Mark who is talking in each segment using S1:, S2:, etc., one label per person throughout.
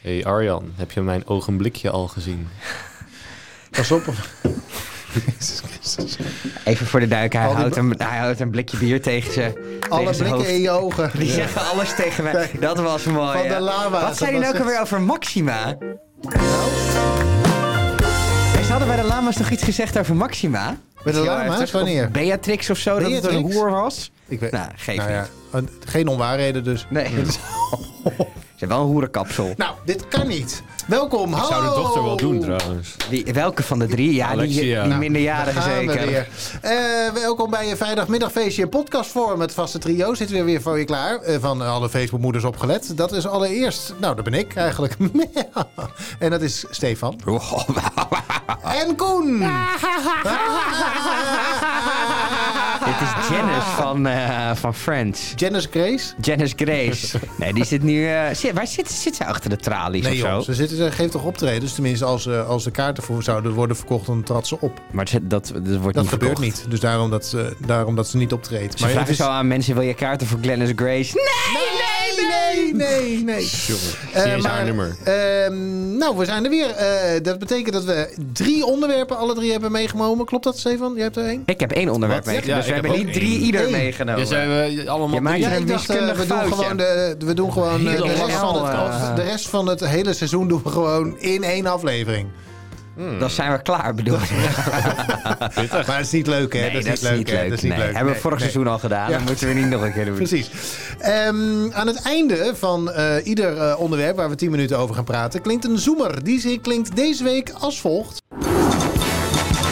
S1: hey Arjan, heb je mijn ogenblikje al gezien?
S2: Pas op.
S3: Even voor de duik, hij,
S2: Al die
S3: houdt, een, hij houdt een blikje bier tegen ze.
S2: Alle
S3: tegen zijn
S2: blikken
S3: hoofd.
S2: in je ogen.
S3: Die zeggen alles tegen mij. Dat was mooi.
S2: Van de
S3: ja.
S2: lava.
S3: Wat zei
S2: Dat
S3: die
S2: was
S3: nou ook
S2: echt-
S3: alweer over Maxima?
S2: Nou,
S3: Ze hadden bij de lama's toch iets gezegd over Maxima?
S2: Met de
S3: Ja,
S2: lama's?
S3: toch? Of
S2: Wanneer?
S3: Beatrix of zo, dat het een
S2: Beatrix?
S3: hoer was?
S2: Ik weet
S3: Nou, geef
S2: Nou ja,
S3: niet.
S2: een- geen onwaarheden dus.
S3: Nee. Ze hebben wel een hoerenkapsel.
S2: Nou, dit kan niet. Welkom,
S1: Dat
S2: hallo.
S1: zou de dochter wel doen trouwens.
S3: Wie- welke van de drie? Ja, die,
S1: Alexia.
S3: die
S1: Nou,
S2: Daar
S3: minderjarige
S2: gaan we
S3: zeker.
S2: weer. Eh, welkom bij je vrijdagmiddagfeestje in podcastvorm. Het vaste trio zit weer weer voor je klaar. Eh, van alle Facebookmoeders opgelet. Dat is allereerst... Nou, dat ben ik eigenlijk. en dat is Stefan.
S1: Ah.
S2: En Koen. Ah.
S3: Dit is Janice van, eh, van Friends.
S2: Janice Grace.
S3: Janice Grace. Nee, die zit nu... eh, zi- waar zit, zit ze achter de tralies
S2: Nee
S3: of zo?
S2: joh, ze, zitten, ze geeft toch optredens? Tenminste, als, eh, als de kaarten voor zouden worden verkocht, dan trad ze op.
S3: Maar ze- dat, dat wordt
S2: Dat
S3: niet
S2: gebeurt
S3: verkocht.
S2: niet. Dus daarom dat ze, daarom dat ze niet optreedt.
S3: Ze
S2: het
S3: vragen
S2: is-
S3: zo aan mensen, wil je kaarten voor Glennis Grace? Nee!
S2: Nee, nee, nee, nee.
S1: Jongen,
S2: Eh,
S1: zie eens
S2: maar,
S1: haar nummer.
S2: ehm, nou, we zijn er weer. Eh, dat betekent dat we drie onderwerpen alle drie hebben meegenomen. Klopt dat, Stefan? Jij hebt er één?
S3: Ik heb één onderwerp
S1: Wat?
S3: meegenomen,
S1: Ja,
S3: dus we
S1: ik heb
S3: hebben
S1: ook
S3: niet drie
S1: één.
S3: ieder
S2: Eén.
S3: meegenomen.
S1: Ja, zijn we allemaal
S3: Je maakt
S1: drie?
S3: er een
S2: ik dacht, eh,
S3: wiskundig
S2: we, doen
S3: foutje.
S2: gewoon de, we doen gewoon eh,
S3: Heel
S2: de, rest van het,
S3: lang, eh.
S2: de rest van het hele seizoen doen we gewoon in één aflevering.
S3: Dan zijn we klaar, bedoel ik.
S2: Maar dat is niet leuk, hè?
S3: Nee,
S2: dat is niet leuk, hè? Dat is niet
S3: nee.
S2: leuk.
S3: Hebben we
S2: Nee,
S3: vorig
S2: nee.
S3: seizoen al gedaan,
S2: Ja.
S3: dat moeten we niet nog een keer doen.
S2: Precies. Ehm, aan het einde van eh, ieder eh, onderwerp waar we 10 minuten over gaan praten, klinkt een zoemer. Die zin klinkt deze week als volgt.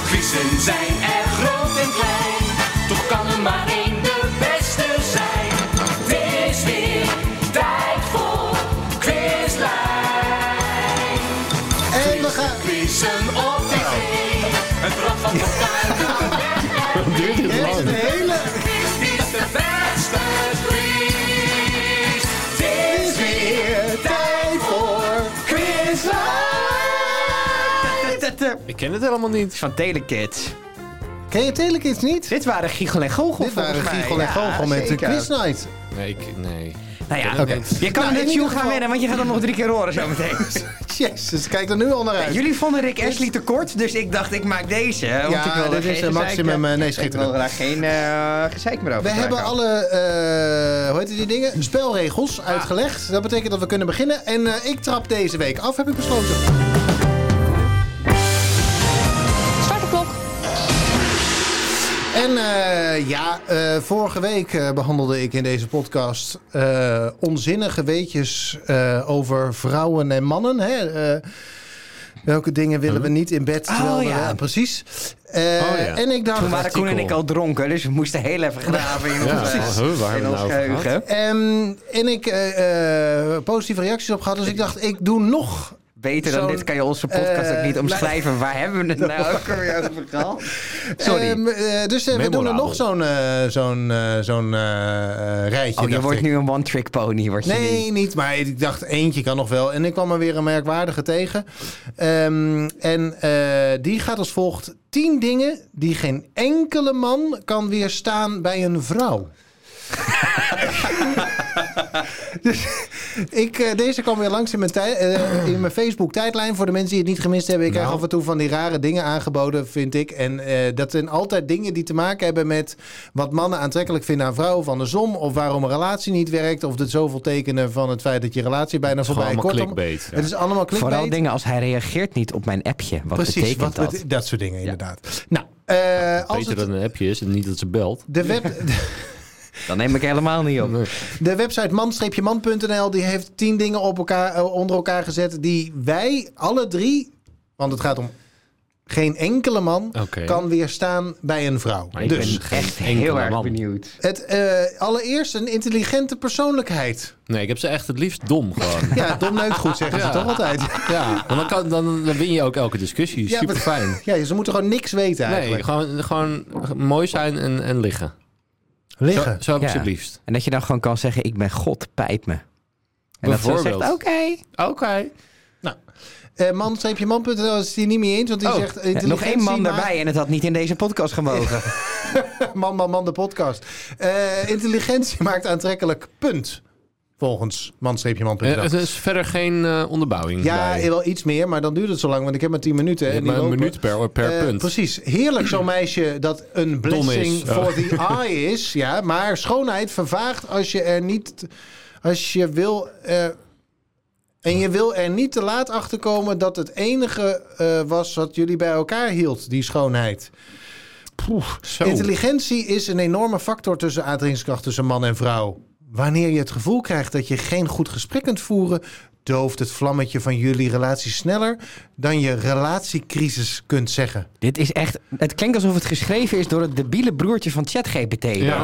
S4: Quizzen zijn er groot en klein, toch kan er maar één de beste zijn. Het is weer tijd voor Quizlijn.
S2: En we gaan.
S4: Quizzen op tv, het rad van de
S1: Duurt dit
S2: Dit is
S1: lang?
S2: een hele.
S4: Quiz is de beste quiz. Het is weer tijd voor Quizlijn.
S1: Ik ken het helemaal niet.
S3: Van Telekids.
S2: Ken je Telekids niet?
S3: Dit waren Giegel en Gogel
S2: Dit
S3: volgens
S2: waren
S3: mij.
S2: Giegel en
S3: Ja,
S2: Gogel met de
S3: zeker.
S2: Quiz Night.
S1: Nee, ik, nee.
S3: Nou ja,
S2: Oké.
S3: je kan
S2: Nou, in
S3: er net
S2: ieder
S3: Joe
S2: geval-
S3: gaan winnen, want je gaat hem nog drie keer horen zometeen.
S2: Jezus, kijk er nu al naar uit.
S3: Jullie vonden Rick Ashley te kort, dus ik dacht ik maak deze. hè, Want
S2: Ja,
S3: ik wilde
S2: dit is
S3: geen
S2: een
S3: gezeik,
S2: maximum,
S3: eh,
S2: eh, nee,
S3: Ik
S2: schitterend.
S3: wil daar geen eh gezeik meer over
S2: We hebben
S3: krijgen.
S2: alle, eh, hoe heet het die dingen? Spelregels uitgelegd. Dat betekent dat we kunnen beginnen. En eh, ik trap deze week af, heb ik besloten.
S5: Start de klok.
S2: En eh, ja, eh, vorige week eh, behandelde ik in deze podcast eh, onzinnige weetjes eh, over vrouwen en mannen. Hè? Eh, welke dingen willen we niet in bed? terwijl we-
S3: Hm. Oh, ja. Oh,
S2: precies. Eh,
S1: ja.
S2: En ik dacht.
S3: Toen waren Koen en ik al dronken, dus we moesten heel even graven in,
S1: Ja,
S3: ons, eh,
S1: precies. Huh, waar
S3: in
S1: hebben we
S3: ons
S1: het nou over
S3: geheugen.
S1: gehad?
S2: Ehm, en ik eh, eh, positieve reacties op gehad. Dus ik dacht, ik doe nog.
S3: Beter dan
S2: Zo'n,
S3: dit kan je onze podcast
S2: eh,
S3: ook niet
S2: nou-
S3: omschrijven. Waar hebben we het nou ook alweer over gehad? Sorry.
S2: Ehm, eh, dus eh, we doen er
S1: Memorabel.
S2: nog zo'n eh, zo'n eh, zo'n eh, eh, rijtje.
S3: oh, je
S2: dacht
S3: wordt
S2: ik.
S3: nu een one-trick pony. Word je nu.
S2: Nee, niet. Maar ik dacht, eentje kan nog wel. En ik kwam er weer een merkwaardige tegen. Ehm, en eh, die gaat als volgt. 10 dingen die geen enkele man kan weerstaan bij een vrouw. dus ik, eh, deze kwam weer langs in mijn, tij- eh, in mijn Facebook-tijdlijn. Voor de mensen die het niet gemist hebben. Ik krijg af en toe van die rare dingen aangeboden, vind ik. En eh, dat zijn altijd dingen die te maken hebben met wat mannen aantrekkelijk vinden aan vrouwen van de som. Of waarom een relatie niet werkt. Of de zoveel tekenen van het feit dat je relatie bijna
S1: Gewoon
S2: voorbij
S1: allemaal
S2: Kortom,
S1: clickbait. ja.
S2: Het is allemaal clickbait.
S3: Vooral dingen als hij reageert niet op mijn appje. Wat betekent
S2: wat
S3: dat?
S2: bete- dat soort dingen, inderdaad. Nou, eh, als
S1: Beter
S2: het,
S1: dat een appje is en niet dat ze belt.
S2: de, web,
S3: Dan neem ik helemaal niet op.
S2: de website man-man.nl die heeft tien dingen op elkaar, eh, onder elkaar gezet die wij alle drie, want het gaat om geen enkele man,
S1: Oké.
S2: kan weerstaan bij een vrouw.
S1: Maar ik
S2: dus
S1: ben geen
S3: Echt
S1: enkele
S3: heel erg
S1: man.
S3: benieuwd.
S2: het, eh, allereerst een intelligente persoonlijkheid.
S1: Nee, ik heb ze echt het liefst dom gewoon.
S2: Ja, dom neukt goed zeggen
S1: Ja.
S2: ze toch altijd.
S1: Ja, want dan, kan, dan, dan win je ook elke discussie.
S2: Ja,
S1: Super fijn.
S2: Ja, ze moeten gewoon niks weten
S1: Nee,
S2: eigenlijk.
S1: gewoon, gewoon mooi zijn en, en liggen. Zo, zo heb ik
S3: Ja.
S1: ze het liefst.
S3: En dat je dan gewoon kan zeggen, ik ben God, pijt me. En dat ze zegt,
S1: Bijvoorbeeld.
S3: oké.
S1: Oké.
S2: Eh, man-man.nl is het hier niet mee eens, want die
S1: Oh.
S2: zegt...
S3: Ja, nog één man
S2: intelligentie maakt-
S3: daarbij en het had niet in deze podcast gemogen.
S2: Man, man, man, de podcast. Eh, intelligentie maakt aantrekkelijk, punt. Volgens
S1: Eh,
S2: man-man.nl.
S1: er is verder geen eh, onderbouwing.
S2: Ja,
S1: bij.
S2: wel iets meer, maar dan duurt het zo lang, want ik heb maar 10 minuten.
S1: Je
S2: en
S1: hebt
S2: die
S1: maar een
S2: lopen.
S1: minuut per, per
S2: Eh,
S1: punt.
S2: Precies. Heerlijk zo'n meisje dat een blessing
S1: is. Oh.
S2: for the eye is. Ja, maar schoonheid vervaagt als je er niet... Als je wil... eh, en je wil er niet te laat achter komen dat het enige eh, was wat jullie bij elkaar hield, die schoonheid.
S1: Zo.
S2: Intelligentie is een enorme factor tussen aantrekkingskracht tussen man en vrouw. Wanneer je het gevoel krijgt dat je geen goed gesprek kunt voeren, dooft het vlammetje van jullie relatie sneller dan je relatiecrisis kunt zeggen.
S3: Dit is echt... Het klinkt alsof het geschreven is door het debiele broertje van ChatGPT.
S1: Ja.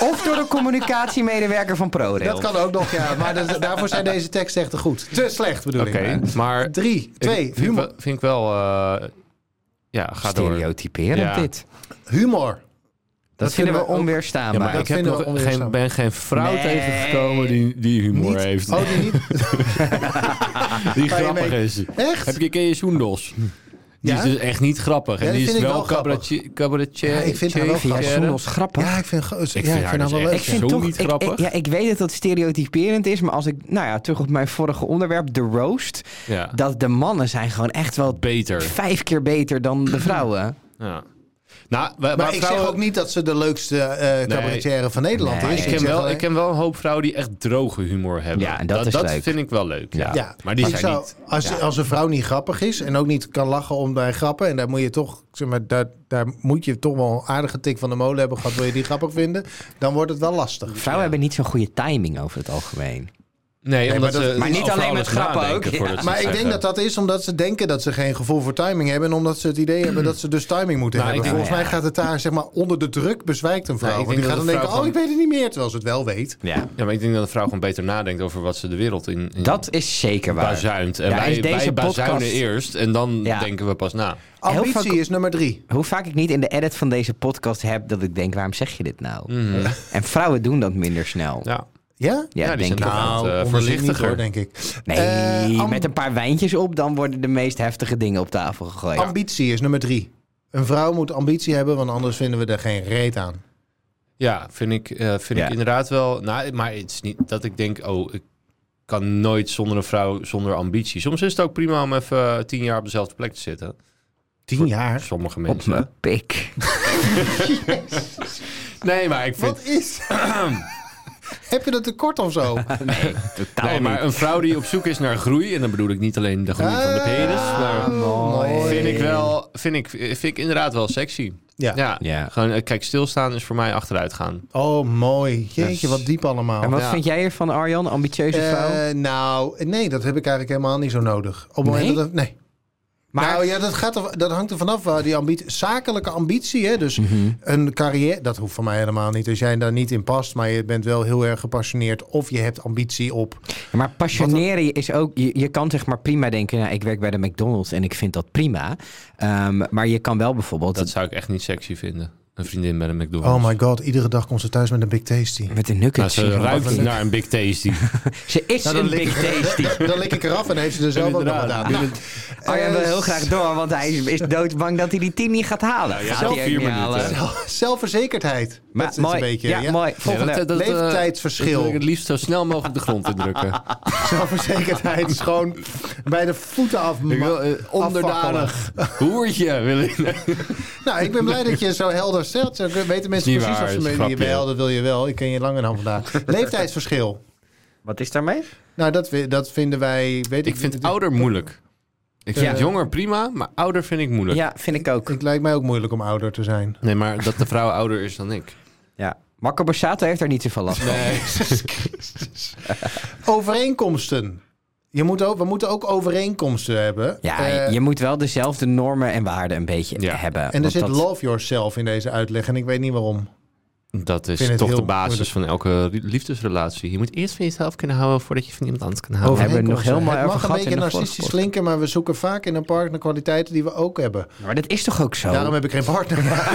S3: Of door de communicatiemedewerker van ProRail.
S2: Dat kan ook nog, ja, maar dat- daarvoor zijn deze teksten echt te goed. Te slecht bedoel
S1: Oké,
S2: ik.
S1: maar...
S2: Drie, twee,
S1: ik, vind, ik
S2: humor.
S1: wel- vind ik wel... eh, ja, ga door.
S3: Stereotyperend
S1: Ja.
S3: dit. Dat,
S2: humor.
S3: vinden we
S2: vinden we ook-
S1: Ja,
S3: onweerstaanbaar.
S1: maar ik heb
S2: vinden
S1: nog
S2: we
S1: geen,
S2: onweerstaanbaar.
S1: ben geen vrouw
S3: Nee.
S1: tegengekomen die, die humor
S2: Niet-
S1: heeft.
S2: Oh, die niet?
S1: die
S2: ga je
S1: grappig
S2: mee.
S1: is.
S2: Echt?
S1: Heb je, ken je Soendos? Die
S2: Ja?
S1: is dus echt niet grappig. en
S2: Ja, dat
S1: die is
S2: vind ik
S1: wel
S2: wel grappig.
S1: cabaretier. cabaretier-
S2: Ja, ik vind haar wel
S1: cabaretier.
S3: Ja, Soenos, grappig.
S2: Ja, ik vind, ja, ik vind,
S1: haar
S2: haar
S1: dus
S2: wel
S1: echt
S2: leuk.
S3: ik vind
S1: zo
S3: toch,
S1: niet
S3: ik-
S1: grappig.
S3: ik- ja, ik weet dat dat stereotyperend is, maar als ik, nou ja, terug op mijn vorige onderwerp, de roast,
S1: Ja.
S3: dat de mannen zijn gewoon echt wel
S1: Beter.
S3: vijf keer beter dan de vrouwen.
S1: Ja. Nou, maar,
S2: Maar ik zeg ook niet dat ze de leukste eh cabaretière van Nederland
S3: Nee,
S2: is.
S1: Ik ken,
S2: zeg
S1: wel,
S2: alleen-
S1: ik ken wel een hoop vrouwen die echt droge humor hebben.
S3: Ja, en dat is leuk.
S1: vind ik wel leuk. Ja.
S2: Ja,
S1: Maar die
S2: ik
S1: zijn
S2: zou-
S1: niet...
S2: Als, als een vrouw niet grappig is en ook niet kan lachen om bij grappen, en daar moet je toch, zeg maar, daar, daar moet je toch wel een aardige tik van de molen hebben gehad, wil je die grappig vinden, dan wordt het wel lastig.
S3: Vrouwen hebben niet zo'n goede timing over het algemeen.
S1: Nee, omdat
S2: maar dat-
S1: ze
S3: maar niet
S1: overal
S3: alleen met
S1: nog
S3: grappen
S1: nadenken
S3: ook, ja.
S1: voordat ze
S2: Maar
S1: het
S2: ik denk
S1: zeggen.
S2: dat dat is omdat ze denken dat ze geen gevoel voor timing hebben en omdat ze het idee hebben dat ze dus timing moeten
S1: Nou, ik
S2: hebben.
S1: denk-
S2: Volgens mij gaat het daar, zeg maar, onder de druk bezwijkt een vrouw.
S1: Nou, ik
S2: want die
S1: denk
S2: gaat
S1: dat
S2: dan
S1: een
S2: denken,
S1: vrouw
S2: oh, ik weet het niet meer, terwijl ze het wel weet.
S3: Ja.
S1: Ja, maar ik denk dat een vrouw gewoon beter nadenkt over wat ze de wereld in, in
S3: Dat is zeker waar.
S1: bazuint. En
S3: Ja,
S1: wij,
S3: is deze
S1: wij bazuinen
S3: podcast-
S1: eerst en dan
S3: Ja.
S1: denken we pas na.
S3: Heel
S2: Ambitie
S3: vaak-
S2: is nummer drie.
S3: Hoe vaak ik niet in de edit van deze podcast heb dat ik denk, waarom zeg je dit nou? En vrouwen doen dat minder snel. Ja,
S1: Mhm. Ja,
S2: Ja?
S1: Ja, die
S3: denk
S1: zijn
S3: ik.
S1: nou-
S2: Nou,
S1: eh,
S2: onderling niet,
S1: voorzichtiger.
S2: hoor, denk ik.
S3: Nee,
S2: Eh, am-
S3: met een paar wijntjes op, dan worden de meest heftige dingen op tafel gegooid.
S2: Ambitie is nummer drie. Een vrouw moet ambitie hebben, want anders vinden we er geen reet aan.
S1: ja vind, ik, eh, vind
S3: Ja.
S1: ik inderdaad wel. Nou, maar het is niet dat ik denk, oh, ik kan nooit zonder een vrouw zonder ambitie. Soms is het ook prima om even eh, tien jaar op dezelfde plek te zitten.
S2: Tien jaar?
S1: Sommige
S3: Op
S1: mensen.
S3: mijn pik.
S1: Nee, maar ik vind...
S2: Wat is... Heb je dat tekort of zo?
S3: Nee, totaal
S1: Nee, maar een vrouw die op zoek is naar groei, en dan bedoel ik niet alleen de groei van de
S2: Ah,
S1: penis, maar
S3: mooi.
S1: vind ik wel, vind ik, vind ik inderdaad wel sexy.
S2: Ja.
S1: Ja.
S3: Ja.
S1: Gewoon, eh, kijk, stilstaan is voor mij achteruit gaan.
S2: Oh, mooi. Jeetje,
S1: Yes.
S2: wat diep allemaal.
S3: En wat
S1: Ja.
S3: vind jij ervan, Arjan? Ambitieuze vrouw?
S2: Eh, nou, nee, dat heb ik eigenlijk helemaal niet zo nodig. Op het moment
S3: Nee?
S2: dat het- nee.
S3: Maar-
S2: nou ja, dat, gaat er, dat hangt er vanaf waar die ambitie, zakelijke ambitie, hè? dus
S3: Mhm.
S2: een carrière, dat hoeft van mij helemaal niet. Als jij daar niet in past, maar je bent wel heel erg gepassioneerd of je hebt ambitie op.
S3: Maar passioneren is ook... Je, je kan zeg maar prima denken... Nou, ik werk bij de McDonald's en ik vind dat prima. Ehm, maar je kan wel bijvoorbeeld...
S1: Dat zou ik echt niet sexy vinden. Een vriendin bij de McDonald's.
S2: Oh my god, iedere dag komt ze thuis met een Big Tasty.
S3: met een
S1: Nou,
S3: nugget.
S1: ze ruikt
S3: ze,
S1: naar een Big Tasty.
S3: is
S2: Nou, dan
S3: een
S2: lik
S3: big
S2: ik-
S3: tasty.
S2: Dan lik ik eraf en heeft ze er zelf ook nog
S1: Inderdaad.
S2: gedaan.
S1: Binnen-
S3: Arjan Oh, wil heel graag door, want hij is, is doodbang dat hij die 10 niet gaat halen.
S1: Nou ja,
S3: gaat hij
S1: vier
S3: ook niet
S1: minuten.
S3: halen.
S2: Zelf- Zelfverzekerdheid.
S3: Maar
S2: dat is
S3: mooi.
S2: een beetje.
S3: ja, mooi.
S1: Nee,
S3: Volgende.
S1: dat- dat, eh,
S2: Leeftijdsverschil.
S1: dat wil ik het liefst zo snel mogelijk de grond indrukken.
S2: Zelfverzekerdheid is gewoon bij de voeten af.
S1: Ik wil
S2: ma-
S1: eh, onderdanig. Hoertje wil ik.
S2: Nou, ik ben blij dat je zo helder stelt. Zo weten mensen
S1: Niet
S2: precies
S1: waar,
S2: of ze
S1: is een
S2: meenemen.
S1: grapje.
S2: Wel, dat wil je wel. Ik ken je langer dan vandaag. Leeftijdsverschil.
S3: Wat is daarmee?
S2: Nou, dat, vi- dat vinden wij... Weet
S1: Ik vind
S2: dit-
S1: ouder moeilijk. Ik vind
S2: Ja.
S1: jonger prima, maar ouder vind ik moeilijk.
S3: Ja, vind ik ook.
S2: Het lijkt mij ook moeilijk om ouder te zijn.
S1: Nee, maar dat de vrouw ouder is dan ik.
S3: Ja. Marco Borsato heeft daar niet zoveel last van.
S2: Overeenkomsten. Je moet ook, we moeten ook overeenkomsten hebben.
S3: Ja,
S2: Eh,
S3: je moet wel dezelfde normen en waarden een beetje
S1: Ja.
S3: hebben.
S2: en er
S3: want
S2: zit
S3: dat-
S2: love yourself in deze uitleg. En ik weet niet waarom.
S1: Dat
S2: vind
S1: is
S2: het
S1: toch
S2: heel
S1: de basis
S2: moeilijk.
S1: van elke ri- liefdesrelatie. Je moet eerst van jezelf kunnen houden voordat je van iemand anders kan houden.
S3: Over- hebben we nog
S2: Overeenkomsten.
S3: helemaal
S2: Het
S3: over
S2: mag
S3: gehad
S2: een
S3: in
S2: beetje
S3: de vorige
S2: narcistisch
S3: podcast.
S2: klinken, maar we zoeken vaak in een partner kwaliteiten die we ook hebben.
S3: Maar dat is toch ook zo?
S2: Daarom heb ik geen partner.
S3: Maar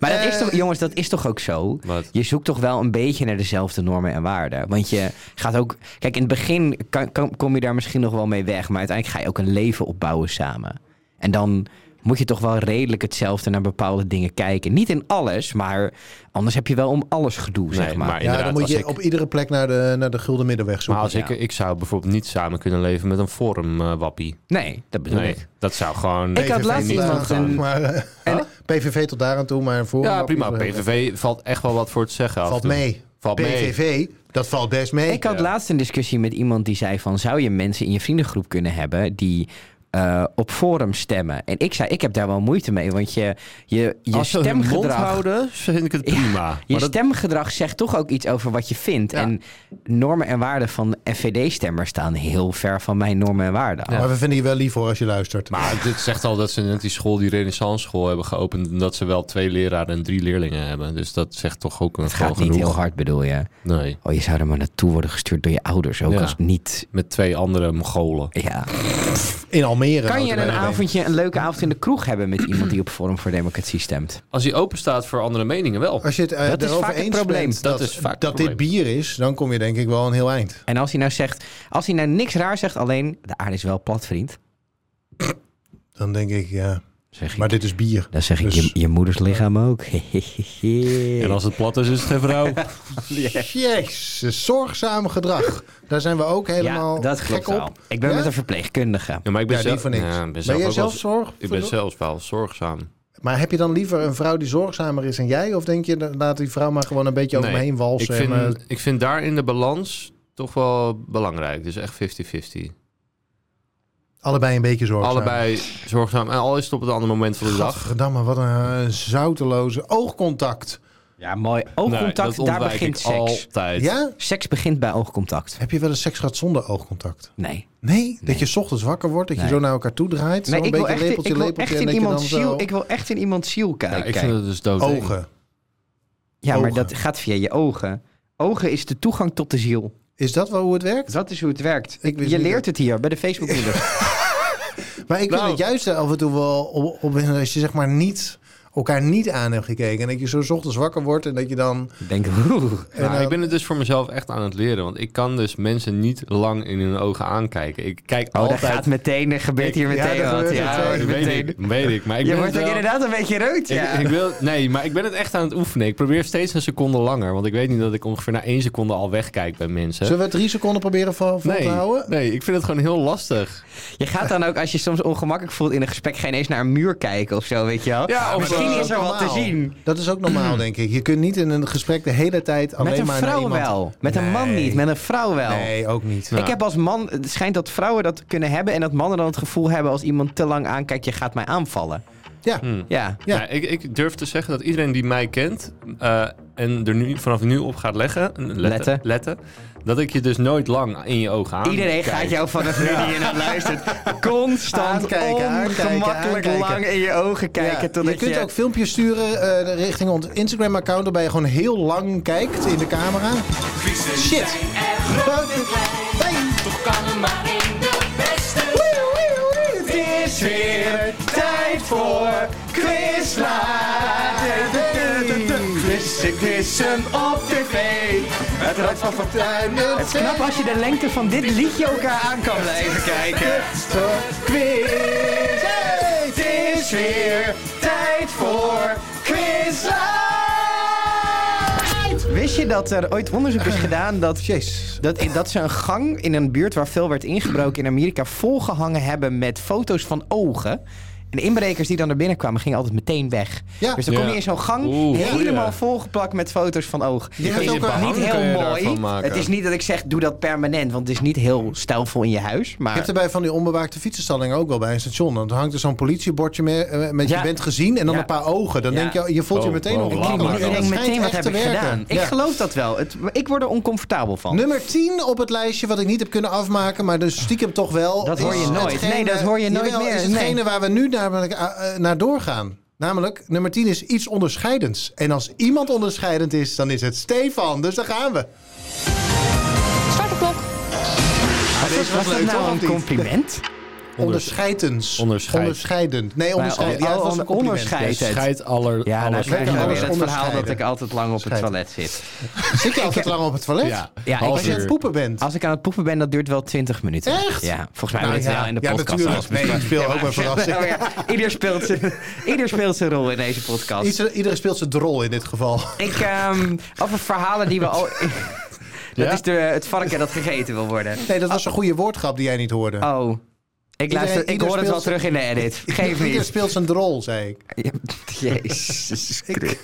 S3: dat is
S2: Eh,
S3: toch, jongens, dat is toch ook zo?
S1: Wat?
S3: Je zoekt toch wel een beetje naar dezelfde normen en waarden. Want je gaat ook. Kijk, in het begin kan, kan- kom je daar misschien nog wel mee weg. Maar uiteindelijk ga je ook een leven opbouwen samen. En dan moet je toch wel redelijk hetzelfde naar bepaalde dingen kijken. Niet in alles, maar anders heb je wel om alles gedoe, zeg maar.
S1: maar
S2: Ja,
S1: inderdaad,
S2: dan moet
S1: als
S2: je
S1: ik-
S2: op iedere plek naar de, naar de gulden middenweg
S1: Maar
S2: zoeken.
S1: als ik,
S3: ja.
S1: ik zou bijvoorbeeld niet samen kunnen leven met een forum eh, wappie.
S3: Nee, dat bedoel
S1: Nee,
S3: ik.
S1: dat zou gewoon...
S3: Ik had laatst
S2: niet
S3: iemand
S2: aan toe,
S3: een-
S2: maar, eh,
S3: en-
S2: PVV tot daar aan toe, maar voor.
S1: Ja, prima. PVV valt echt wel wat voor te zeggen. af
S2: Valt
S1: en toe.
S2: mee.
S1: Valt mee.
S2: PVV, dat valt best mee.
S3: Ik had laatst een discussie met iemand die zei van... zou je mensen in je vriendengroep kunnen hebben die eh, op forum stemmen? En ik zei, ik heb daar wel moeite mee, want je, je, je
S1: Als ze hun mond
S3: stemgedrag...
S1: houden, vind ik het
S3: Ja,
S1: prima.
S3: Je
S1: Maar dat-
S3: stemgedrag zegt toch ook iets over wat je vindt.
S1: Ja.
S3: En normen en waarden van FVD-stemmers staan heel ver van mijn normen en waarden. af.
S2: Maar we vinden je wel lief hoor als je luistert.
S1: Maar Ah, dit zegt al dat ze net die school, die renaissance school hebben geopend. En dat ze wel twee leraren en drie leerlingen hebben. Dus dat zegt toch ook een
S3: Het gaat
S1: gewoon
S3: niet
S1: genoeg.
S3: heel hard, bedoel je?
S1: Nee,
S3: Oh, je zou er maar naartoe worden gestuurd door je ouders. Ook
S1: Ja.
S3: als niet...
S1: met twee andere Mongolen.
S3: Ja.
S2: In Almere.
S3: Kan
S2: notabene
S3: je een
S2: alleen.
S3: avondje, een leuke avond in de kroeg hebben met iemand die op Forum voor Democratie stemt?
S1: Als hij open staat voor andere meningen wel.
S2: Als je het eh,
S3: Dat is
S2: erover
S3: vaak het
S2: eens
S3: probleem.
S1: Dat
S2: bent dat, dat,
S1: is vaak het
S2: dit bier is, dan kom je denk ik wel een heel eind.
S3: En als hij nou zegt, als hij nou niks raar zegt, alleen de aarde is wel plat, vriend.
S2: Dan denk ik, ja,
S3: Zeg ik.
S2: maar dit is bier.
S3: dan zeg ik
S2: dus-
S3: je, je moeders lichaam ook.
S1: En als het plat is, is het geen vrouw.
S2: Jezus, zorgzaam gedrag. Daar zijn we ook helemaal
S3: ja, dat klopt
S2: gek
S3: wel.
S2: op.
S3: Ik ben
S2: Ja?
S3: met een verpleegkundige.
S1: Ja, maar ik ben
S2: Ja, die
S1: zelf...
S2: van ik.
S1: Ja, ik ben
S2: ben
S1: zelf
S2: jij
S1: ook wel-
S2: zelf zorg?
S1: Ik ben zelf wel zorgzaam.
S2: Maar heb je dan liever een vrouw die zorgzamer is dan jij? Of denk je, dan laat die vrouw maar gewoon een beetje over
S1: Nee,
S2: me heen walsen?
S1: Ik vind,
S2: en, eh,
S1: ik vind daarin de balans toch wel belangrijk. Dus echt 50-50.
S2: allebei een beetje zorgzaam.
S1: Allebei zorgzaam. En al is het op het andere moment van de dag.
S2: Gadverdamme, wat een eh, zouteloze oogcontact.
S3: Ja, mooi. Oogcontact,
S1: Nee, dat
S3: daar
S1: ontwijk
S3: begint
S1: ik
S3: seks.
S1: altijd.
S2: Ja?
S3: Seks begint bij oogcontact.
S2: Heb je wel eens seks gehad zonder oogcontact?
S3: Nee.
S2: Nee, dat je 's ochtends wakker wordt, dat je
S3: Nee.
S2: zo naar elkaar toe draait.
S3: nee
S2: zo een
S3: ik, wil
S2: beetje
S3: echt,
S2: lepeltje,
S3: ik wil
S2: lepeltje.
S3: echt
S2: en
S3: in
S2: dat je
S3: iemands
S2: dan zo...
S3: ziel, ik wil echt in iemands ziel
S1: Ja,
S3: kijken.
S1: ik vind het dus dood.
S2: Ogen.
S3: ja, maar
S2: ogen.
S3: dat gaat via je ogen. Ogen is de toegang tot de ziel.
S2: Is dat wel hoe het werkt?
S3: Dat is hoe het werkt.
S2: Ik wist
S3: je
S2: niet
S3: leert het hier bij de facebook
S2: Maar ik vind
S1: Nou.
S2: het juist af en toe wel op, op als je zeg maar niet elkaar niet aan hebt gekeken en dat je zo 's ochtends wakker wordt en dat je dan
S3: Ik denk, oeh. oh,
S1: Nou,
S2: En, eh,
S1: ik ben het dus voor mezelf echt aan het leren. Want ik kan dus mensen niet lang in hun ogen aankijken. Ik kijk
S3: Oh, dat
S1: altijd...
S3: gaat meteen, er gebeurt hier
S2: Ja,
S3: meteen
S2: er
S3: wat.
S2: gebeurt
S3: Ja,
S1: weet
S2: meteen.
S3: meteen.
S1: ik. Weet ik. Maar ik
S3: je
S1: ben
S3: wordt
S1: het
S3: ook
S1: wel-
S3: inderdaad een beetje rood,
S1: Ik,
S3: ja.
S1: ik wil, nee, maar ik ben het echt aan het oefenen. Ik probeer steeds een seconde langer. Want ik weet niet dat ik ongeveer na één seconde al wegkijk bij mensen.
S2: zullen we drie seconden proberen vol, vol te
S1: nee,
S2: houden?
S1: nee, ik vind het gewoon heel lastig.
S3: Je gaat dan ook, als je soms ongemakkelijk voelt in een gesprek, geen eens naar een muur kijken of zo, weet je wel.
S1: Ja, of
S3: Misschien
S1: eh,
S3: is er wat te
S2: normaal.
S3: zien.
S2: Dat is ook normaal denk ik. Je kunt niet in een gesprek de hele tijd alleen
S3: Mm. Met een
S2: maar naar
S3: vrouw
S2: iemand.
S3: wel. Met een man
S2: Nee.
S3: niet, met een vrouw wel.
S2: Nee, ook niet.
S1: Nou.
S3: Ik heb als man, het schijnt dat vrouwen dat kunnen hebben en dat mannen dan het gevoel hebben als iemand te lang aankijkt, je gaat mij aanvallen.
S2: Ja.
S3: Ja.
S2: Ja.
S1: Nou, ik, ik durf te zeggen dat iedereen die mij kent eh, en er nu, vanaf nu op gaat leggen, letten,
S3: Letten.
S1: letten. dat ik je dus nooit lang in je ogen aan.
S3: Iedereen gaat jou vanaf nu die je naar luistert constant
S2: Aankijken, aankijken,
S3: ongemakkelijk
S2: aankijken.
S3: lang in je ogen kijken.
S2: Ja,
S3: totdat
S2: je kunt ook filmpjes sturen eh, richting ons Instagram-account, waarbij je gewoon heel lang kijkt in de camera. Shit.
S4: Toch kan er maar één de beste
S3: Het is weer tijd voor Quiz Ik quiz hem op tv. Het Rad van Fortuin. Het is knap als je de lengte van dit liedje elkaar aan kan blijven kijken. Quiz. Het is weer tijd voor Quizlight. Wist je dat er ooit onderzoek is gedaan dat
S2: Jezus.
S3: dat, dat ze een gang in een buurt waar veel werd ingebroken in Amerika volgehangen hebben met foto's van ogen. En de inbrekers die dan naar binnen kwamen, gingen altijd meteen weg.
S2: Ja.
S3: Dus dan kom je
S1: Ja.
S3: in zo'n gang
S1: Oeh,
S3: helemaal
S1: goeie.
S3: volgeplakt met foto's van ogen.
S2: Je
S3: Het
S2: hebt
S3: is
S2: ook een
S3: niet
S1: hang, kun je
S3: heel
S1: daarvan
S3: mooi.
S1: maken.
S3: Het is niet dat ik zeg, doe dat permanent, want het is niet heel stijlvol in je huis. Maar
S2: Je hebt er bij van die onbewaakte fietsenstallingen ook wel bij een station. Dan hangt er zo'n politiebordje mee, eh, met
S3: Ja.
S2: je bent gezien en dan
S3: Ja.
S2: een paar ogen. Dan
S3: Ja.
S2: denk je, je voelt je
S1: Oh,
S2: meteen
S1: oh,
S2: op.
S1: oh,
S3: ik denk,
S1: maar
S3: ik
S1: dat
S3: denk meteen, wat heb ik gedaan? Ik
S2: Ja.
S3: geloof dat wel. Het, ik word er oncomfortabel van.
S2: Nummer 10 op het lijstje, wat ik niet heb kunnen afmaken, maar dus stiekem toch wel.
S3: Dat hoor je
S2: is
S3: nooit.
S2: hetgene-
S3: Nee, dat hoor je nooit
S2: Jawel,
S3: meer.
S2: is hetgene waar we nu namelijk eh, eh, naar doorgaan. Namelijk, nummer 10 is iets onderscheidends. En als iemand onderscheidend is, dan is het Stefan. Dus daar gaan we.
S5: Start de klok.
S3: was, was dat
S2: leuk,
S3: nou
S2: toch,
S3: een
S2: of niet?
S3: compliment?
S2: Onderscheidens.
S1: Onderscheid.
S2: Onderscheidend. Nee, onderscheid.
S3: Maar,
S2: Ja, het
S3: oh,
S2: was
S3: oh,
S2: een compliment.
S3: onderscheid.
S1: Jij scheidt aller,
S3: Ja, nou
S1: alles
S3: krijg je
S2: lekker
S3: nou weer
S2: alles
S3: het verhaal dat ik
S2: onderscheiden.
S3: altijd lang op het
S2: Scheiden.
S3: toilet zit.
S2: Zit je altijd lang op het toilet?
S1: Ja,
S3: Ja,
S1: half
S2: Als je aan
S1: uur.
S2: het poepen bent.
S3: Als ik aan het poepen ben, dat duurt wel 20 minuten.
S2: Echt?
S3: Nou Ja, volgens mij hebben we
S2: ja,
S3: het wel in de
S2: ja,
S3: podcast al
S2: natuurlijk.
S3: eens
S2: Nee, ik speel ook een verrassing.
S3: Nou ja, ieder, speelt zijn, ieder speelt zijn rol in deze podcast.
S2: Ieder- Iedereen speelt zijn drol in dit geval.
S3: Ik, ehm, over verhalen die we al... dat
S1: Ja?
S3: is de, het varken dat gegeten wil worden.
S2: Nee, dat was een goede woordgrap die jij niet hoorde.
S3: Oh, ik, luister, ik
S2: ieder
S3: hoor het wel
S2: speelt
S3: terug in de edit. Geef
S2: Iedereen
S3: niet.
S2: speelt zijn drol, zei ik.
S3: Ja, Jezus Christus.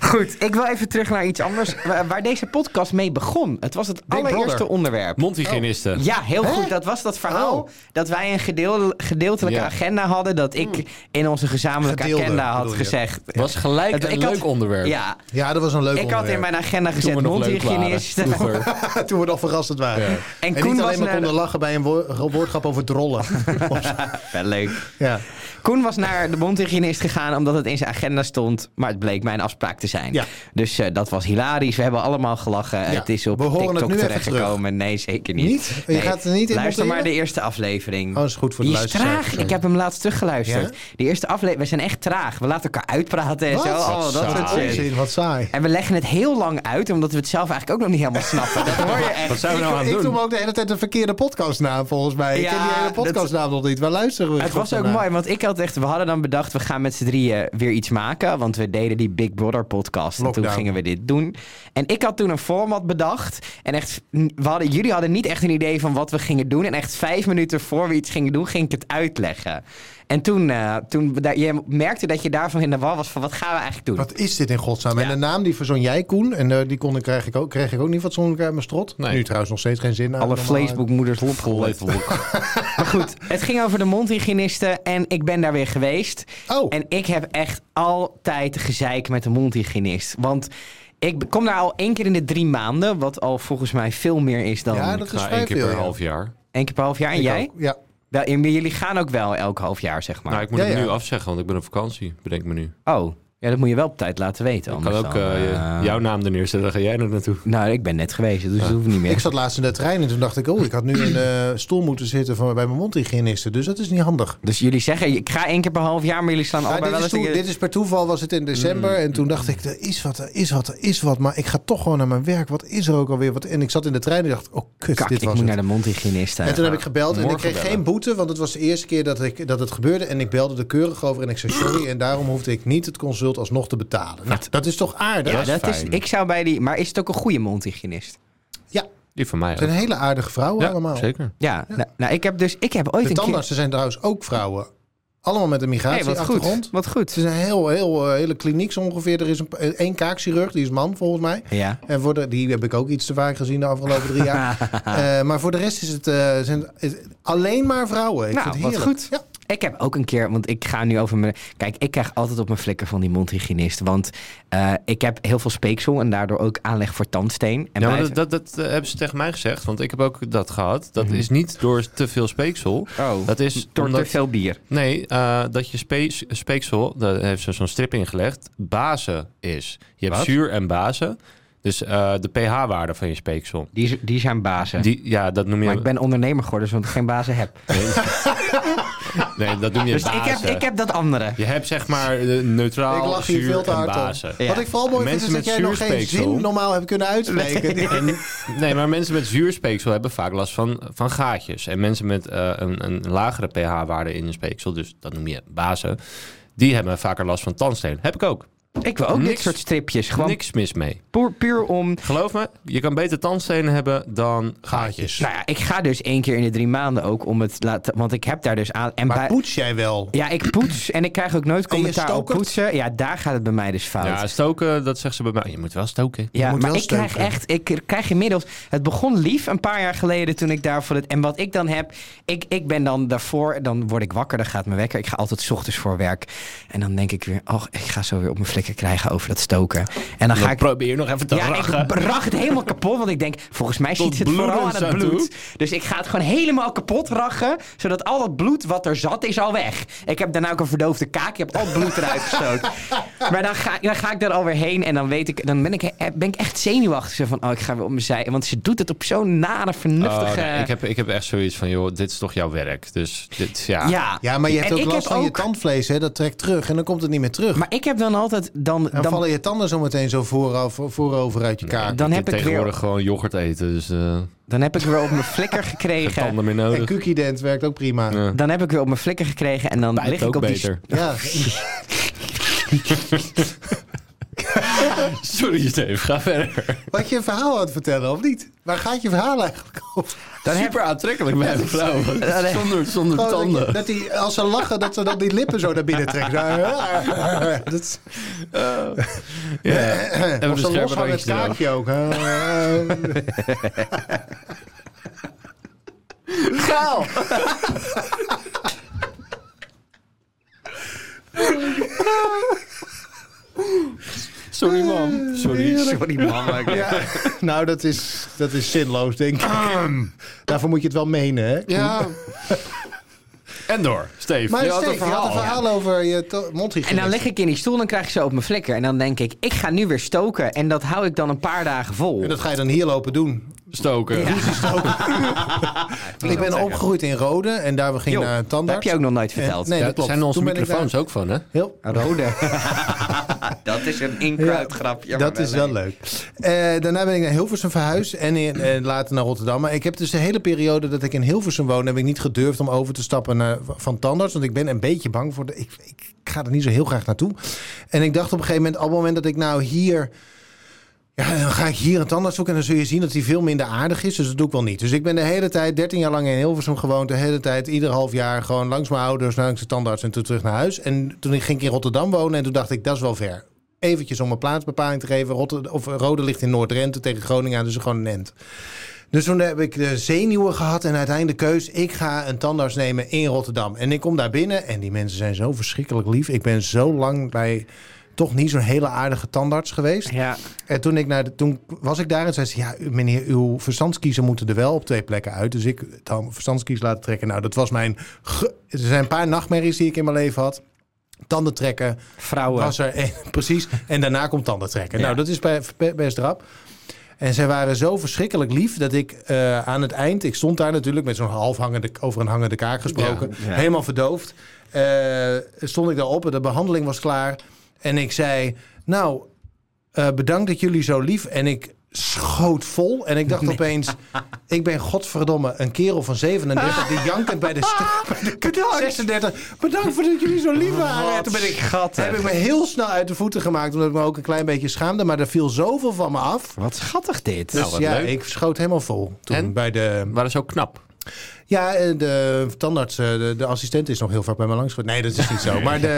S3: Goed, ik wil even terug naar iets anders. Waar waar deze podcast mee begon. Het was het
S2: Brother.
S3: allereerste onderwerp.
S1: Mondhygiënisten.
S3: Ja, heel goed. Dat was dat verhaal
S2: Oh.
S3: dat wij een gedeel, gedeeltelijke
S1: Ja.
S3: agenda hadden. Dat ik in onze gezamenlijke
S2: Hmm. Gedeelde,
S3: agenda had
S2: bedoel je?
S3: gezegd.
S1: Was gelijk
S3: Het-
S1: een
S3: ik
S1: leuk
S3: had-
S1: onderwerp.
S3: Ja,
S2: Ja, dat was een leuk
S3: ik had in
S2: onderwerp.
S3: mijn agenda
S1: Toen
S3: gezet
S1: we nog leuk waren.
S3: mondhygiënist.
S1: Vroeger.
S2: Toen we al verrassend waren.
S1: Ja.
S2: En,
S3: En
S2: niet
S3: Koen
S2: alleen
S3: was
S2: maar
S3: naar
S2: konden
S3: de-
S2: lachen bij een woor- woordgrap over drollen.
S3: Wel leuk.
S2: ja.
S3: Koen was naar de mondhygiënist gegaan omdat het in zijn agenda stond. Maar het bleek mijn afspraak te zijn.
S2: Ja.
S3: Dus eh, dat was hilarisch. We hebben allemaal gelachen. Het is op
S2: We horen het
S3: TikTok
S2: nu even
S3: terechtgekomen. Nee, zeker niet.
S2: Niet? Je
S3: Nee,
S2: gaat er niet in
S3: Luister maar de
S2: monteren?
S3: eerste aflevering.
S2: Oh, is goed voor de
S3: Die is
S2: luisteraar.
S3: traag. Ik heb hem laatst teruggeluisterd.
S2: Ja?
S3: De eerste aflevering. We zijn echt traag. We laten elkaar uitpraten en
S2: Wat?
S3: zo. Oh,
S1: Wat
S3: dat soort
S1: saai.
S3: shit.
S2: Onzin, wat saai.
S3: En we leggen het heel lang uit, omdat we het zelf eigenlijk ook nog niet helemaal snappen. Dat hoor je
S1: Wat
S3: echt.
S1: zijn we nou aan
S2: ik
S1: het
S2: doe
S1: doen?
S2: me ook de hele tijd een verkeerde podcastnaam, volgens mij. ik
S3: Ja,
S2: ken die hele
S3: dat-
S2: podcastnaam nog niet. Waar luisteren we
S3: Het was ook
S2: vandaan?
S3: mooi, want ik had echt, we hadden dan bedacht, we gaan met z'n drieën weer iets maken. Want we deden die Big Brother podcast. En
S2: Lockdown.
S3: toen gingen we dit doen. En ik had toen een format bedacht. En echt, we hadden, jullie hadden niet echt een idee van wat we gingen doen. En echt vijf minuten voor we iets gingen doen, ging ik het uitleggen. En toen, eh, toen we daar- je merkte dat je daarvan in de war was van wat gaan we eigenlijk doen.
S2: Wat is dit in godsnaam? En
S3: Ja.
S2: de naam die verzon jij, Koen. En eh, die kon, ik- kreeg, ik ook, kreeg ik ook niet fatsoenlijk uit mijn strot.
S1: Nee.
S2: Nu trouwens nog steeds geen zin. aan.
S3: Alle
S2: Eh, Normaal uit.
S3: Facebookmoeders lopgegooid.
S1: Letterlijk.
S3: Maar goed, het ging over de mondhygiënisten en ik ben daar weer geweest.
S2: Oh.
S3: En ik heb echt altijd gezeik met de mondhygiënist. Want ik kom daar al één keer in de drie maanden, wat al volgens mij veel meer is dan
S2: Ja, dat is
S1: Nou,
S2: vrij
S1: één keer
S2: veel.
S1: per
S2: ja.
S1: half jaar.
S3: één keer per half jaar. En
S2: Ik
S3: jij?
S2: ook, Ja.
S3: Wel, en jullie gaan ook wel elk half jaar, zeg maar.
S1: Nou, ik moet
S2: Ja,
S1: het
S2: ja.
S1: nu afzeggen, want ik ben op vakantie, bedenk me nu.
S3: Oh, ja, dat moet je wel op tijd laten weten.
S1: Ik kan
S3: anders
S1: ook
S3: dan,
S1: eh, je-
S3: eh,
S1: jouw naam er neerzetten, dan ga jij er naartoe.
S3: Nou, ik ben net geweest, dus dat hoeft niet meer.
S2: Ik zat laatst in de trein en toen dacht ik, oh, ik had nu in de stoel moeten zitten van, bij mijn mondhygiëniste. Dus dat is niet handig.
S3: Dus jullie zeggen, ik ga één keer per half jaar, maar jullie staan
S2: Maar
S3: allebei
S2: dit,
S3: wel
S2: is
S3: eens...
S2: toen-
S3: tegen-
S2: dit is per toeval, was het in december.
S3: Mm.
S2: En toen dacht ik, er is wat, er is wat, er is wat. Maar ik ga toch gewoon naar mijn werk. Wat is er ook alweer? Wat? En ik zat in de trein en dacht, oh kut,
S3: Kak,
S2: dit
S3: ik moet
S2: was het.
S3: naar de mondhygiënist. eh.
S2: En toen heb ik gebeld en ik
S1: Morgen
S2: kreeg
S1: bellen.
S2: geen boete, want het was de eerste keer dat, ik, dat het gebeurde. En ik belde er keurig over en ik zei sorry. En daarom hoefde ik niet het consult alsnog te betalen. Nou, dat is toch aardig?
S3: Ja,
S1: Dat is
S3: dat is,
S1: fijn.
S3: ik zou bij die... Maar is het ook een goede mondhygiënist?
S2: Ja, het
S1: Die van mij
S2: zijn
S1: ook.
S2: hele aardige vrouwen allemaal.
S1: zeker.
S3: Ja, Nou, nou, ik heb dus... Ik heb ooit
S2: De
S3: een keer...
S2: tandartsen zijn trouwens ook vrouwen. Allemaal met een
S3: Hey, wat goed.
S2: migratieachtergrond.
S3: Wat
S2: Het
S3: goed.
S2: is een heel, heel, eh, hele kliniek zo ongeveer. Er is een, eh, één kaakchirurg, die is man volgens mij.
S3: Ja.
S2: En voor de, die heb ik ook iets te vaak gezien de afgelopen drie jaar. Eh, maar voor de rest is het, eh, zijn, is het alleen maar vrouwen. Ik
S3: Nou,
S2: vind het
S3: wat
S2: heerlijk.
S3: goed.
S2: Ja.
S3: Ik heb ook een keer, want ik ga nu over mijn. Kijk, ik krijg altijd op mijn flikker van die mondhygiënist. Want eh, ik heb heel veel speeksel en daardoor ook aanleg voor tandsteen. En
S1: Ja, maar
S3: buiten-
S1: dat, dat, dat, eh, hebben ze tegen mij gezegd, want ik heb ook dat gehad. Dat is niet door te veel speeksel.
S3: Oh,
S1: Dat is
S3: door
S1: omdat-
S3: te veel bier.
S1: Nee, eh, dat je spe- speeksel, daar heeft ze zo'n strip ingelegd, bazen is. Je hebt
S3: Wat?
S1: zuur en bazen. Dus eh, de pH-waarde van je speeksel.
S3: Die, z- die zijn bazen.
S1: Die, ja, dat noem je...
S3: Maar ik ben ondernemer geworden, zodat ik geen bazen heb.
S1: Nee, dat noem je
S3: Dus ik
S1: bazen.
S3: heb, ik heb dat andere.
S1: Je hebt zeg maar eh, neutraal,
S2: Ik lach hier
S1: zuur
S2: veel te
S1: en
S2: hard om.
S1: bazen.
S3: Ja.
S2: Wat ik vooral mooi
S1: Mensen
S2: vind is dat
S1: met
S2: jij nog geen
S1: zuurspeeksel.
S2: zin normaal hebt kunnen uitspreken.
S1: En- nee, maar mensen met zuurspeeksel hebben vaak last van, van gaatjes. En mensen met eh, een, een lagere pH-waarde in hun speeksel, dus dat noem je bazen, die hebben vaker last van tandsteen. Heb ik ook.
S3: Ik wil ook dit
S1: Niks.
S3: soort stripjes. Gewoon
S1: Niks mis mee.
S3: puur, puur om
S1: Geloof me, je kan beter tandstenen hebben dan gaatjes.
S3: Nou ja, ik ga dus één keer in de drie maanden ook om het laten. Want ik heb daar dus aan. En
S2: Maar
S3: bij-
S2: poets jij wel?
S3: ja, ik poets en ik krijg ook nooit
S2: je
S3: commentaar op
S2: stokert?
S3: poetsen. Ja, daar gaat het bij mij dus fout.
S1: Ja,
S3: Ja,
S1: stoken, Nou, dat zegt ze bij mij. Je moet wel stoken.
S2: moet
S3: maar
S2: wel
S3: ik krijg
S2: stoken.
S3: echt, ik krijg inmiddels. Het begon lief een paar jaar geleden toen ik daar voor het. En wat ik dan heb, ik, ik ben dan daarvoor, dan word ik wakker, dan gaat mijn wekker. Ik ga altijd 's ochtends voor werk. En dan denk ik weer, oh, ik ga zo weer op mijn flik. lekker krijgen over dat stoken. En dan ga ik...
S1: probeer nog even te
S3: Ja,
S1: ragen.
S3: ik rag het helemaal kapot, want ik denk, volgens mij
S1: Tot
S3: ziet het vooral
S1: bloedens
S3: aan het
S1: aan toe.
S3: bloed. Dus ik ga het gewoon helemaal kapot raggen, zodat al dat bloed wat er zat is al weg. Ik heb daarna ook een verdoofde kaak, ik heb al het bloed eruit gestoken. maar dan ga, dan ga ik daar alweer heen en dan, weet ik, dan ben, ik, eh, ben ik echt zenuwachtig. Zo van, oh, ik ga weer op mijn zij. Want ze doet het op zo'n nare, vernuftige...
S1: Oh, nee, ik, heb, ik heb echt zoiets van, joh, dit is toch jouw werk. Dus dit, ja.
S3: ja.
S2: Ja, maar je hebt
S3: En
S2: ook
S3: ik
S2: last
S3: heb
S2: van je
S3: ook-
S2: tandvlees, hè? Dat trekt terug en dan komt het niet meer terug.
S3: Maar ik heb dan altijd... Dan,
S2: dan,
S3: dan,
S2: vallen je tanden zo meteen zo vooraf, voorover uit je kaak.
S3: dan
S1: ik
S3: heb
S1: heb
S3: ik weer-
S1: tegenwoordig gewoon yoghurt eten, dus eh
S3: dan heb ik weer op mijn flikker
S1: geen
S3: gekregen.
S1: tanden meer
S2: en
S1: nodig.
S2: Cukident werkt ook prima.
S1: Ja.
S3: Dan heb ik weer op mijn flikker gekregen en dan
S1: Bijt
S3: lig ik
S1: ook
S3: op die...
S1: beter.
S2: Ja.
S1: Sorry Steve, ga verder.
S2: Wat je een verhaal aan het vertellen, of niet? Waar gaat je verhaal eigenlijk over?
S1: Dan Super aantrekkelijk bij een vrouw.
S3: nee.
S1: Zonder, zonder
S2: Gewoon dat je-
S1: tanden.
S2: Dat die, als ze lachen, dat ze dan die lippen zo naar binnen trekken. Zo, Dat is,
S1: Ja.
S2: hebben of
S1: een
S2: ze
S1: scherpe
S2: losgaan het
S1: randje eraf.
S2: kaakje ook.
S3: Gaal!
S1: Sorry man.
S2: Eh,
S1: Sorry.
S3: Sorry man.
S2: Ja. Nou, dat is, dat is zinloos, denk ik. Daarvoor moet je het wel menen, hè?
S1: Ja. En door, Steve.
S2: Maar
S1: je
S2: Steve,
S1: had een verhaal.
S2: over je to- mondhygiëne.
S3: En dan lig ik in die stoel en krijg ik zo op mijn flikker. En dan denk ik, ik ga nu weer stoken. En dat hou ik dan een paar dagen vol.
S2: En dat ga je dan hier lopen doen.
S1: Stoken.
S2: Ik ben opgegroeid in Rode en daar ging
S3: Jo,
S2: ik naar een
S3: dat
S2: tandarts.
S3: heb je ook nog nooit
S2: En-
S3: verteld.
S2: nee,
S1: Ja,
S2: dat klopt.
S1: zijn onze
S2: Toen ben ik
S1: microfoons
S2: daar-
S1: ook van, hè?
S2: Heel,
S3: Rode. dat is een
S2: crowd
S3: grapje.
S2: dat is wel leuk. Eh, daarna ben ik naar Hilversum verhuisd en in, eh, later naar Rotterdam. Maar ik heb dus de hele periode dat ik in Hilversum woon... heb ik niet gedurfd om over te stappen naar, van tandarts. Want ik ben een beetje bang voor... De, ik, ik ga er niet zo heel graag naartoe. En ik dacht op een gegeven moment... op het moment dat ik nou hier... Ja, dan ga ik hier een tandarts zoeken en dan zul je zien dat hij veel minder aardig is. Dus dat doe ik wel niet. Dus ik ben de hele tijd, 13 jaar lang in Hilversum gewoond. De hele tijd, ieder half jaar gewoon langs mijn ouders, langs de tandarts en toen terug naar huis. En toen ging ik in Rotterdam wonen en toen dacht ik, dat is wel ver. Eventjes om een plaatsbepaling te geven. Rotter- of Rode ligt in Noord-Drenthe tegen Groningen, aan, dus gewoon een end. Dus toen heb ik de zenuwen gehad en uiteindelijk de keus... ik ga een tandarts nemen in Rotterdam. En ik kom daar binnen en die mensen zijn zo verschrikkelijk lief. Ik ben zo lang bij toch niet zo'n hele aardige tandarts geweest.
S3: Ja.
S2: En toen, ik naar de, toen was ik daar en zei ze... ja, u- meneer, uw verstandskiezen moeten er wel op twee plekken uit. Dus ik het had mijn verstandskies laten trekken. Nou, dat was mijn... ge- er zijn een paar nachtmerries die ik in mijn leven had. Tanden trekken
S3: Vrouwen.
S2: was er één, precies. En daarna komt tanden trekken.
S3: Ja.
S2: Nou, dat is bij- be- best rap. En zij waren zo verschrikkelijk lief dat ik eh, aan het eind... Ik stond daar natuurlijk met zo'n halfhangende, over een hangende kaak gesproken.
S3: Ja, ja.
S2: Helemaal verdoofd. Eh, stond ik daarop en de behandeling was klaar. En ik zei, nou, eh, bedankt dat jullie zo lief. En ik schoot vol. En ik dacht opeens, ik ben godverdomme een kerel van 37... die jankend bij de, st- bij de kut- 36... Bedankt voor dat jullie zo lief
S3: Ah,
S2: waren. En toen ben ik
S3: gat.
S2: heb ik me heel snel uit de voeten gemaakt, omdat ik me ook een klein beetje schaamde. Maar er viel zoveel van me af.
S3: Wat schattig dit.
S2: Dus
S1: Nou, wat
S2: ja,
S1: leuk.
S2: ik schoot helemaal vol. Toen
S1: En?
S2: bij de.
S1: Maar dat is ook knap.
S2: Ja, eh, de tandarts, eh, de, de assistent is nog heel vaak bij me langs. geweest. Nee, dat is niet zo. Maar de.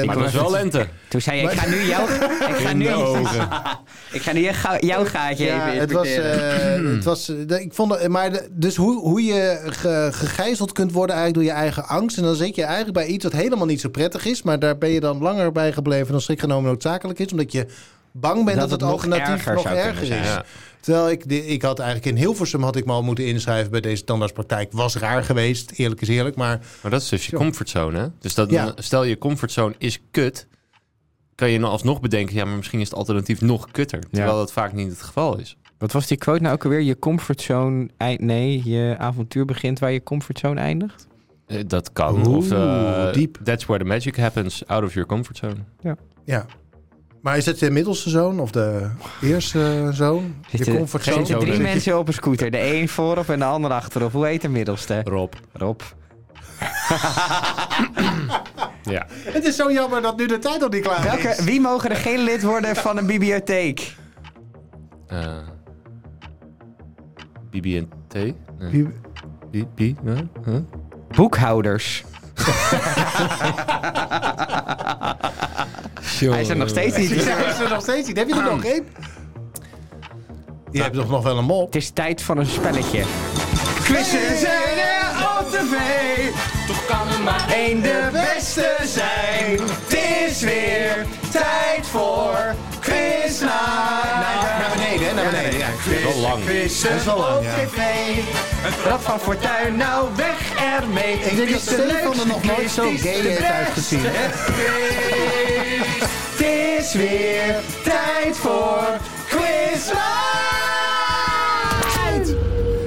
S2: eh,
S1: Maar dat is wel lente.
S3: Toen zei je, ik ga nu jou... Ik ga nu, ik ga nu je ga- jouw gaatje
S2: Ja,
S3: even
S2: het was,
S3: inspecteren.
S2: eh, het was, eh, de- ik vond, het- maar de- dus hoe, hoe je ge- gegijzeld kunt worden eigenlijk door je eigen angst. En dan zit je eigenlijk bij iets wat helemaal niet zo prettig is. Maar daar ben je dan langer bij gebleven dan strikt genomen noodzakelijk is. Omdat je bang bent dat, het,
S3: Dat het nog
S2: alternatief
S3: erger
S2: nog
S3: zou kunnen
S2: erger is.
S3: zijn,
S1: ja.
S2: Terwijl ik, de- ik had eigenlijk in Hilversum had ik me al moeten inschrijven bij deze tandartspraktijk. Was raar geweest, eerlijk is eerlijk. Maar
S1: Maar dat is dus je comfortzone, hè? Dus dat,
S2: Ja.
S1: stel je comfortzone is kut, kan je dan alsnog bedenken, ja, maar misschien is het alternatief nog kutter. Terwijl dat vaak niet het geval is.
S3: Wat was die quote nou ook alweer? Je comfortzone... eind- Nee, je avontuur begint waar je comfortzone eindigt.
S1: Eh, Dat kan. of
S2: Oeh,
S1: eh
S2: diep.
S1: That's where the magic happens, out of your comfortzone.
S2: ja. Maar is dat de middelste zoon of de eerste zoon?
S3: Zitten-
S2: Je comfortzone?
S3: Zitten drie
S1: Zo, denk ik.
S3: mensen op een scooter. De een voorop en de ander achterop. Hoe heet de middelste?
S1: Rob.
S3: Rob.
S1: Ja.
S2: Het is zo jammer dat nu de tijd al niet klaar is.
S3: Welke, wie mogen er geen lid worden van een bibliotheek?
S1: Eh BB&T? Nee.
S2: Wie-
S1: Bi- bi- huh? Huh?
S3: Boekhouders. Hij is er nog steeds niet.
S2: Die zijn er nog steeds niet. Heb je er nog één? Je hebt toch nog wel een mol?
S3: Het is tijd voor een spelletje. Quizzen zijn er op tv.
S4: toch kan er maar
S3: Eén de beste zijn. Het is weer tijd voor Quiznight.
S2: Naar beneden, hè? Naar beneden. Ja,
S3: Quiz,
S1: wel lang.
S3: Quizzen
S2: Dat is wel lang,
S3: op
S2: ja.
S3: tv. Het rad van fortuin, nou weg ermee. Ik
S2: denk dat Stefan er nog nooit zo gay heeft uitgezien.
S3: Het is weer tijd voor Quizlight.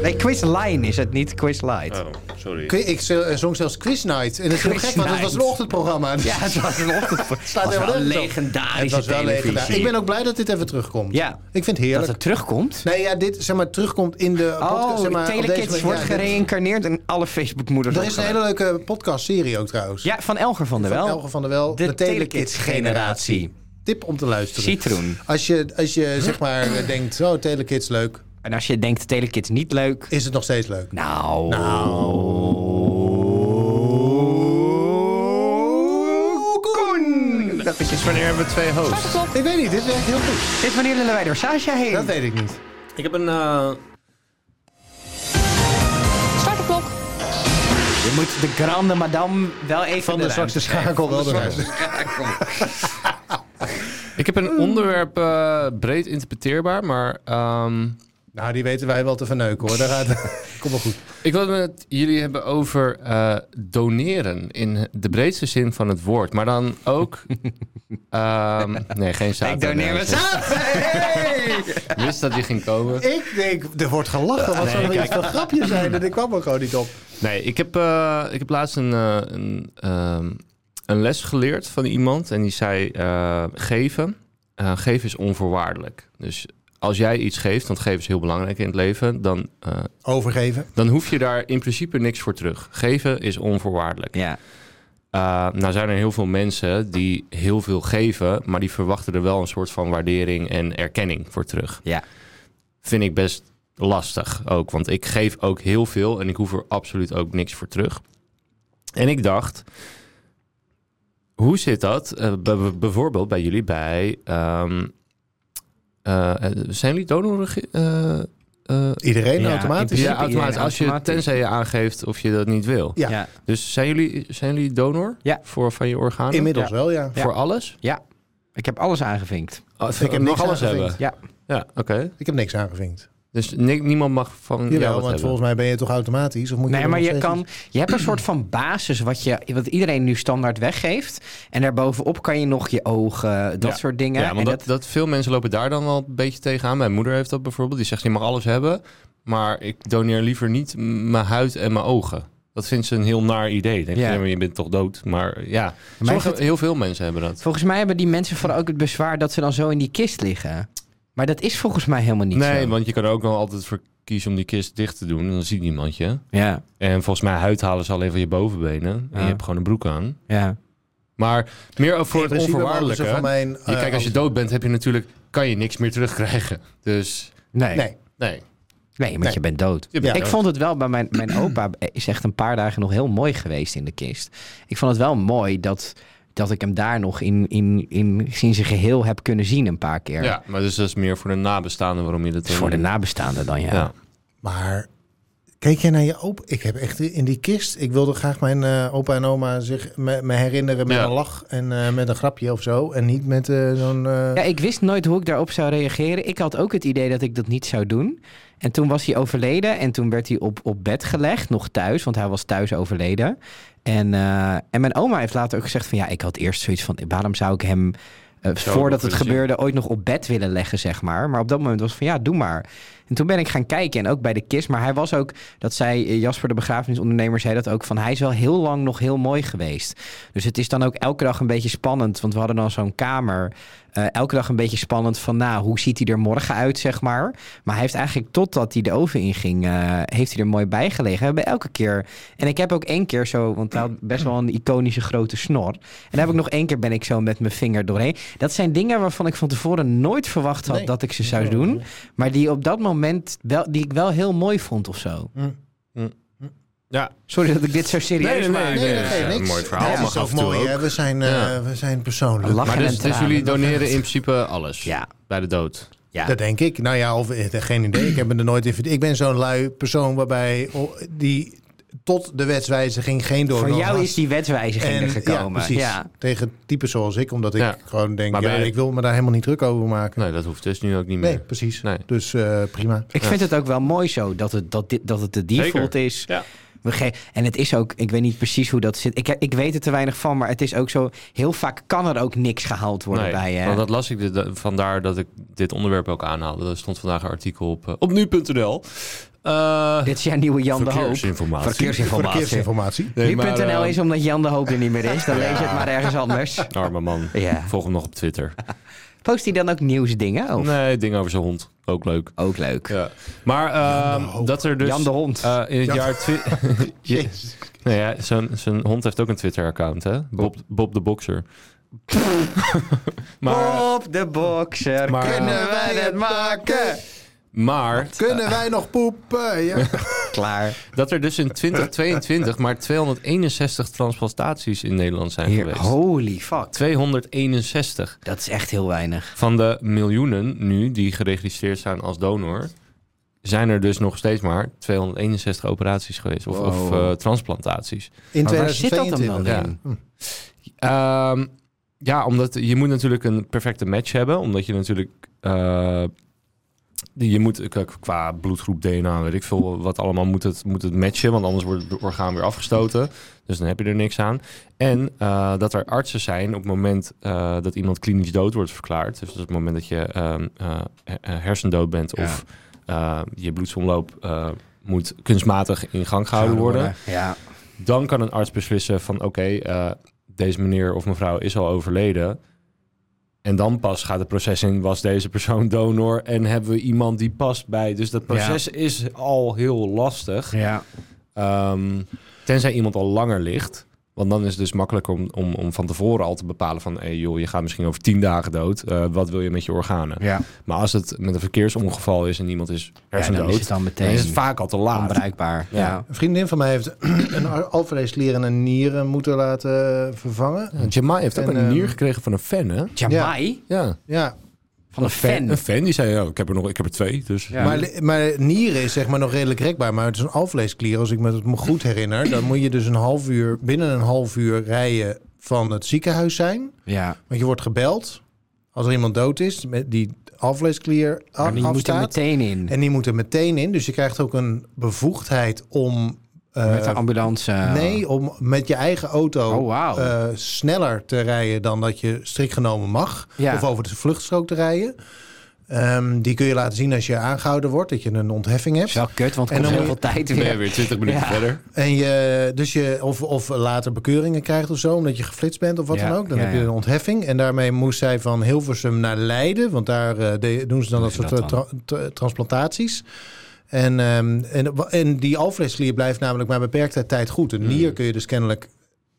S3: Nee, Quizline is het niet, Quizlight.
S1: Oh, sorry.
S2: Qui- Ik zo- eh, zong zelfs Quiz Night. En dat is heel
S3: Quiz
S2: gek, want dat
S3: Night.
S2: was een ochtendprogramma.
S3: Ja, het was een ochtend. Het was
S2: helemaal
S3: wel een
S2: nergens op.
S3: legendarische
S2: Het was wel
S3: televisie.
S2: legendaar. Ik ben ook blij dat dit even terugkomt.
S3: Ja.
S2: Ik vind het heerlijk.
S3: Dat het terugkomt?
S2: Nee, ja, dit zeg maar terugkomt in de podcast.
S3: Oh,
S2: zeg maar, op deze
S3: Telekids
S2: manier.
S3: wordt
S2: Ja, dit-
S3: gereïncarneerd en alle Facebookmoeders
S2: Er is een hele leuke podcast-serie ook trouwens.
S3: Ja, van Elger van der
S2: Van
S3: Wel.
S2: Elger van der Wel.
S3: De Telekids-generatie.
S2: Tip om te luisteren.
S3: Citroen.
S2: Als je, als je zeg maar eh, denkt, oh, Telekids leuk,
S3: En als je denkt Telekids niet leuk...
S2: is het nog steeds leuk.
S3: Nou... Koen! Dat is
S1: Wanneer hebben we twee hosts?
S5: Start de klok.
S2: Ik weet niet, dit werkt heel goed.
S3: Dit wanneer willen wij door Sasha heen?
S2: Dat weet ik niet.
S1: Ik heb een... eh,
S5: Start de klok.
S3: Je moet de grande madame wel even
S2: Van de zwakste schakel wel eruit.
S1: ik heb een onderwerp eh, breed interpreteerbaar, maar... ehm,
S2: Nou, die weten wij wel te verneuken hoor. Daar gaat... Kom maar goed.
S1: ik wil het met jullie hebben over eh, doneren in de breedste zin van het woord. Maar dan ook... ehm, nee, geen zaad.
S3: Ik doneer mijn zaad! Hey!
S1: Ik wist dat die ging komen.
S2: Ik denk, er wordt gelachen. Wat zou er iets van grapje zijn? En ik kwam er gewoon niet op.
S1: Nee, ik heb, eh, ik heb laatst een, eh, een, ehm, een les geleerd van iemand. En die zei: eh, geven. eh, geven is onvoorwaardelijk. Dus als jij iets geeft, want geven is heel belangrijk in het leven, dan, eh,
S2: Overgeven.
S1: dan hoef je daar in principe niks voor terug. Geven is onvoorwaardelijk.
S3: Ja.
S1: Eh, nou zijn er heel veel mensen die heel veel geven, maar die verwachten er wel een soort van waardering en erkenning voor terug.
S3: Ja.
S1: Vind ik best lastig ook, want ik geef ook heel veel en ik hoef er absoluut ook niks voor terug. En ik dacht, hoe zit dat eh, b- b- bijvoorbeeld bij jullie bij... ehm, eh, eh, zijn jullie donoren? ge- eh, eh,
S2: Iedereen
S3: Ja,
S2: automatisch.
S3: in
S1: ja,
S2: Ja.
S3: principe
S1: automatisch. Als je,
S3: automatisch.
S1: tenzij je aangeeft of je dat niet wil.
S2: Ja.
S3: Ja.
S1: Dus zijn jullie, zijn jullie donor
S3: Ja.
S1: voor van je organen?
S2: Inmiddels wel, ja.
S1: Ja. Voor alles?
S3: Ja. Ik heb alles aangevinkt.
S1: Oh,
S2: Ik heb
S1: nog
S2: niks
S1: alles
S2: aangevinkt.
S1: hebben.
S3: Ja.
S1: Ja, oké.
S2: Ik heb niks aangevinkt.
S1: Dus ni- niemand mag van jou
S2: Jawel,
S1: wat
S2: want
S1: hebben.
S2: volgens mij ben je toch automatisch? Of moet
S3: Nee,
S2: er
S3: maar
S2: nog
S3: je,
S2: steeds
S3: kan, je hebt een soort van basis wat, je, wat iedereen nu standaard weggeeft. En daarbovenop kan je nog je ogen, dat
S1: Ja.
S3: soort dingen.
S1: Ja,
S3: En
S1: want dat, dat veel mensen lopen daar dan wel een beetje tegenaan. Mijn moeder heeft dat bijvoorbeeld. Die zegt, je mag alles hebben, maar ik doneer liever niet m- mijn huid en mijn ogen. Dat vindt ze een heel naar idee. Denk je,
S3: Ja.
S1: ja, maar je bent toch dood. Maar ja, Sommige,
S3: het-
S1: heel veel mensen hebben dat.
S3: Volgens mij hebben die mensen vooral ook het bezwaar dat ze dan zo in die kist liggen. Maar dat is volgens mij helemaal niet
S1: Nee,
S3: zo.
S1: want je kan er ook wel altijd voor kiezen om die kist dicht te doen. En dan ziet niemand je.
S3: Ja,
S1: En volgens mij huid halen ze alleen van je bovenbenen. En
S3: Ja.
S1: je hebt gewoon een broek aan.
S3: ja.
S1: Maar meer ook voor
S2: In
S1: het
S2: principe
S1: onvoorwaardelijke.
S2: mogen ze van mijn,
S1: Je,
S2: eh,
S1: kijk, als je
S2: hand-
S1: dood bent, heb je natuurlijk, kan je niks meer terugkrijgen. Dus
S3: Nee. Nee,
S2: Nee.
S1: nee.
S3: want
S2: Nee.
S3: je bent dood.
S1: Je bent
S3: ik
S1: dood.
S3: vond het wel bij mijn, mijn opa is echt een paar dagen nog heel mooi geweest in de kist. Ik vond het wel mooi dat, dat ik hem daar nog in, in, in, in zijn geheel heb kunnen zien een paar keer.
S1: Ja, maar dus dat is meer voor de nabestaanden waarom je dat
S3: Voor de nabestaanden dan, ja.
S1: Ja.
S2: Maar keek jij naar je opa? Ik heb echt in die kist. Ik wilde graag mijn eh, opa en oma zich me, me herinneren met
S1: Ja.
S2: een lach en eh, met een grapje of zo. En niet met eh, zo'n. eh,
S3: Ja, ik wist nooit hoe ik daarop zou reageren. Ik had ook het idee dat ik dat niet zou doen. En toen was hij overleden en toen werd hij op, op bed gelegd, nog thuis, want hij was thuis overleden. En, eh, en mijn oma heeft later ook gezegd van ja, ik had eerst zoiets van waarom zou ik hem eh,
S1: Zo nog
S3: voordat
S1: willen
S3: het
S1: zien.
S3: gebeurde ooit nog op bed willen leggen, zeg maar. Maar op dat moment was het van ja, doe maar. En toen ben ik gaan kijken en ook bij de kist. Maar hij was ook, dat zei eh, Jasper de begrafenisondernemer, zei dat ook van hij is wel heel lang nog heel mooi geweest. Dus het is dan ook elke dag een beetje spannend. Want we hadden dan zo'n kamer. eh, elke dag een beetje spannend van, nou, hoe ziet hij er morgen uit, zeg maar. Maar hij heeft eigenlijk totdat hij de oven inging, eh, heeft hij er mooi bij gelegen. We hebben elke keer. En ik heb ook één keer zo, want hij had best wel een iconische grote snor. En daar heb ik nog één keer ben ik zo met mijn vinger doorheen. Dat zijn dingen waarvan ik van tevoren nooit verwacht had
S2: Nee.
S3: dat ik ze zou doen. Maar die op dat moment wel, die ik wel heel mooi vond of zo.
S1: Ja.
S3: Sorry dat ik dit zo serieus
S1: Nee, nee, nee,
S3: maak.
S1: nee,
S2: Mm. nee, dat
S1: dat is
S2: geeft
S1: een
S2: niks.
S1: mooi verhaal.
S2: Ja, dat
S1: mag
S2: is ook
S1: af en toe
S2: mooi, hè?
S1: ook.
S2: We zijn, eh,
S1: Ja.
S2: we zijn persoonlijk.
S3: Lachen
S1: Maar
S3: en
S1: dus, dus
S3: tranen.
S1: jullie doneren in principe alles
S3: Ja.
S1: bij de dood.
S3: Ja.
S2: Dat denk ik. Nou ja, of eh, geen idee. Ik heb me er nooit in verdiept. Ik ben zo'n lui persoon waarbij oh, die tot de wetswijziging geen doorgang
S3: Voor jou
S2: was.
S3: is die wetswijziging er
S2: Ja,
S3: gekomen.
S2: precies.
S3: Ja.
S2: Tegen typen zoals ik, omdat ik
S1: Ja.
S2: gewoon denk,
S1: Maar
S2: ja,
S1: ben je-
S2: ik wil me daar helemaal niet druk over maken.
S1: Nee, dat hoeft dus nu ook niet meer.
S2: Nee, precies.
S1: Nee.
S2: Dus eh, prima.
S3: Ik vind het ook wel mooi zo dat het, dat dit, dat het de default
S1: Zeker.
S3: is.
S1: Ja.
S3: We ge- en het is ook, ik weet niet precies hoe dat zit. Ik, ik weet er te weinig van, maar het is ook zo. Heel vaak kan er ook niks gehaald worden eh,
S1: Nee,
S3: bij. Hè?
S1: want dat las ik, dit- vandaar dat ik dit onderwerp ook aanhaalde. Er stond vandaag een artikel op, eh, op nu.nl. Eh,
S3: Dit is jouw nieuwe Jan de Hoop.
S1: verkeersinformatie.
S3: Verkeersinformatie.
S2: Verkeersinformatie.
S1: Nee, maar,
S3: Nu.nl
S1: eh,
S3: is omdat Jan de Hoop er niet meer is. Dan lees je het maar ergens anders.
S1: Arme man.
S3: Ja.
S1: Volg hem nog op Twitter.
S3: Post hij dan ook nieuwsdingen? Of?
S1: Nee, ding over zijn hond. Ook leuk.
S3: Ook leuk.
S1: Maar ehm,
S2: Hoop.
S1: dat er dus...
S3: Jan de Hond.
S1: eh, in het
S2: Jan-
S1: jaar... twi- Je-
S2: Jezus.
S1: nou ja, zijn, zijn hond heeft ook een Twitter-account, hè? Bob, Bob de Boxer. maar... eh,
S3: Op de boxer
S1: Maar-
S2: Ah.
S1: eh,
S3: kunnen wij het maken.
S1: maar
S2: Kunnen wij nog poepen? Ja.
S3: Klaar.
S1: Dat er dus in 2022 maar 261 transplantaties in Nederland zijn
S3: Hier,
S1: geweest.
S3: holy fuck.
S1: 261
S3: Dat is echt heel weinig.
S1: van de miljoenen nu die geregistreerd zijn als donor, zijn er dus nog steeds maar 261 operaties geweest of, of
S3: Wow.
S1: eh, transplantaties.
S2: In
S3: Maar waar zit dat hem
S2: 2022.
S3: dan
S1: Ja.
S3: in?
S1: Ehm, ja, omdat je moet natuurlijk een perfecte match hebben, omdat je natuurlijk eh, je moet eh, qua bloedgroep DNA, weet ik veel, wat allemaal moet het, moet het matchen, want anders wordt het orgaan weer afgestoten. Dus dan heb je er niks aan. En eh, dat er artsen zijn op het moment eh, dat iemand klinisch dood wordt verklaard. Dus dat is het moment dat je ehm, eh, eh, hersendood bent
S3: Ja.
S1: of eh, je bloedsomloop eh, moet kunstmatig in gang gehouden worden
S3: Ja.
S1: dan kan een arts beslissen van oké, eh, deze meneer of mevrouw is al overleden. En dan pas gaat het proces in, was deze persoon donor en hebben we iemand die past bij. Dus dat proces is al heel lastig.
S3: ja.
S1: Ehm, tenzij iemand al langer ligt. Want dan is het dus makkelijker om, om, om van tevoren al te bepalen van... Hey joh, je gaat misschien over tien dagen dood. Eh, wat wil je met je organen?
S3: Ja.
S1: Maar als het met een verkeersongeval is en iemand is hersendood...
S3: dan nou, is het dan meteen
S1: is het vaak al te laat.
S3: Onbruikbaar. Ja.
S1: Ja.
S2: Een vriendin van mij heeft een alvleesklier en een nieren moeten laten vervangen.
S1: Jamai heeft ook
S2: En,
S1: een
S3: eh,
S2: ehm,
S1: nier gekregen van een fan, hè?
S3: Jamai?
S1: Ja.
S2: Ja,
S3: Van een fan.
S1: Een fan die zei, oh, ik heb er nog, ik heb er twee. Dus.
S3: Ja.
S2: maar, li- maar nieren is zeg maar nog redelijk rekbaar. Maar het is een alvleesklier, als ik me het me goed herinner. Dan moet je dus een half uur, binnen een half uur rijden van het ziekenhuis zijn.
S3: Ja.
S2: Want je wordt gebeld als er iemand dood is, met die alvleesklier a-
S3: Maar die moet er
S2: afstaat. Eh,
S3: meteen in.
S2: En die moet er meteen in. Dus je krijgt ook een bevoegdheid om... eh,
S3: Met de ambulance. eh,
S2: Nee, om met je eigen auto
S3: Oh, wauw.
S2: eh, sneller te rijden dan dat je strikt genomen mag.
S3: Ja.
S2: Of over de vluchtstrook te rijden. Ehm, die kun je laten zien als je aangehouden wordt, dat je een ontheffing hebt.
S3: Is wel kut, want het
S2: En
S3: kost heel
S2: dan
S3: veel
S2: moet
S3: tijd
S1: Ben je
S3: weer.
S1: weer 20 minuten
S3: Ja.
S1: verder.
S2: En je, dus je, of, of later bekeuringen krijgt of zo, omdat je geflitst bent of wat
S3: Ja,
S2: dan ook. Dan
S3: ja,
S2: heb je
S3: ja.
S2: een ontheffing. En daarmee moest zij van Hilversum naar Leiden. Want daar eh, de- doen ze dan dat
S3: Doen
S2: soort
S3: ze dat
S2: tra- tra- transplantaties. En, ehm, en, wa- en die alvleesklier blijft namelijk maar beperkte tijd goed. Een nier kun je dus kennelijk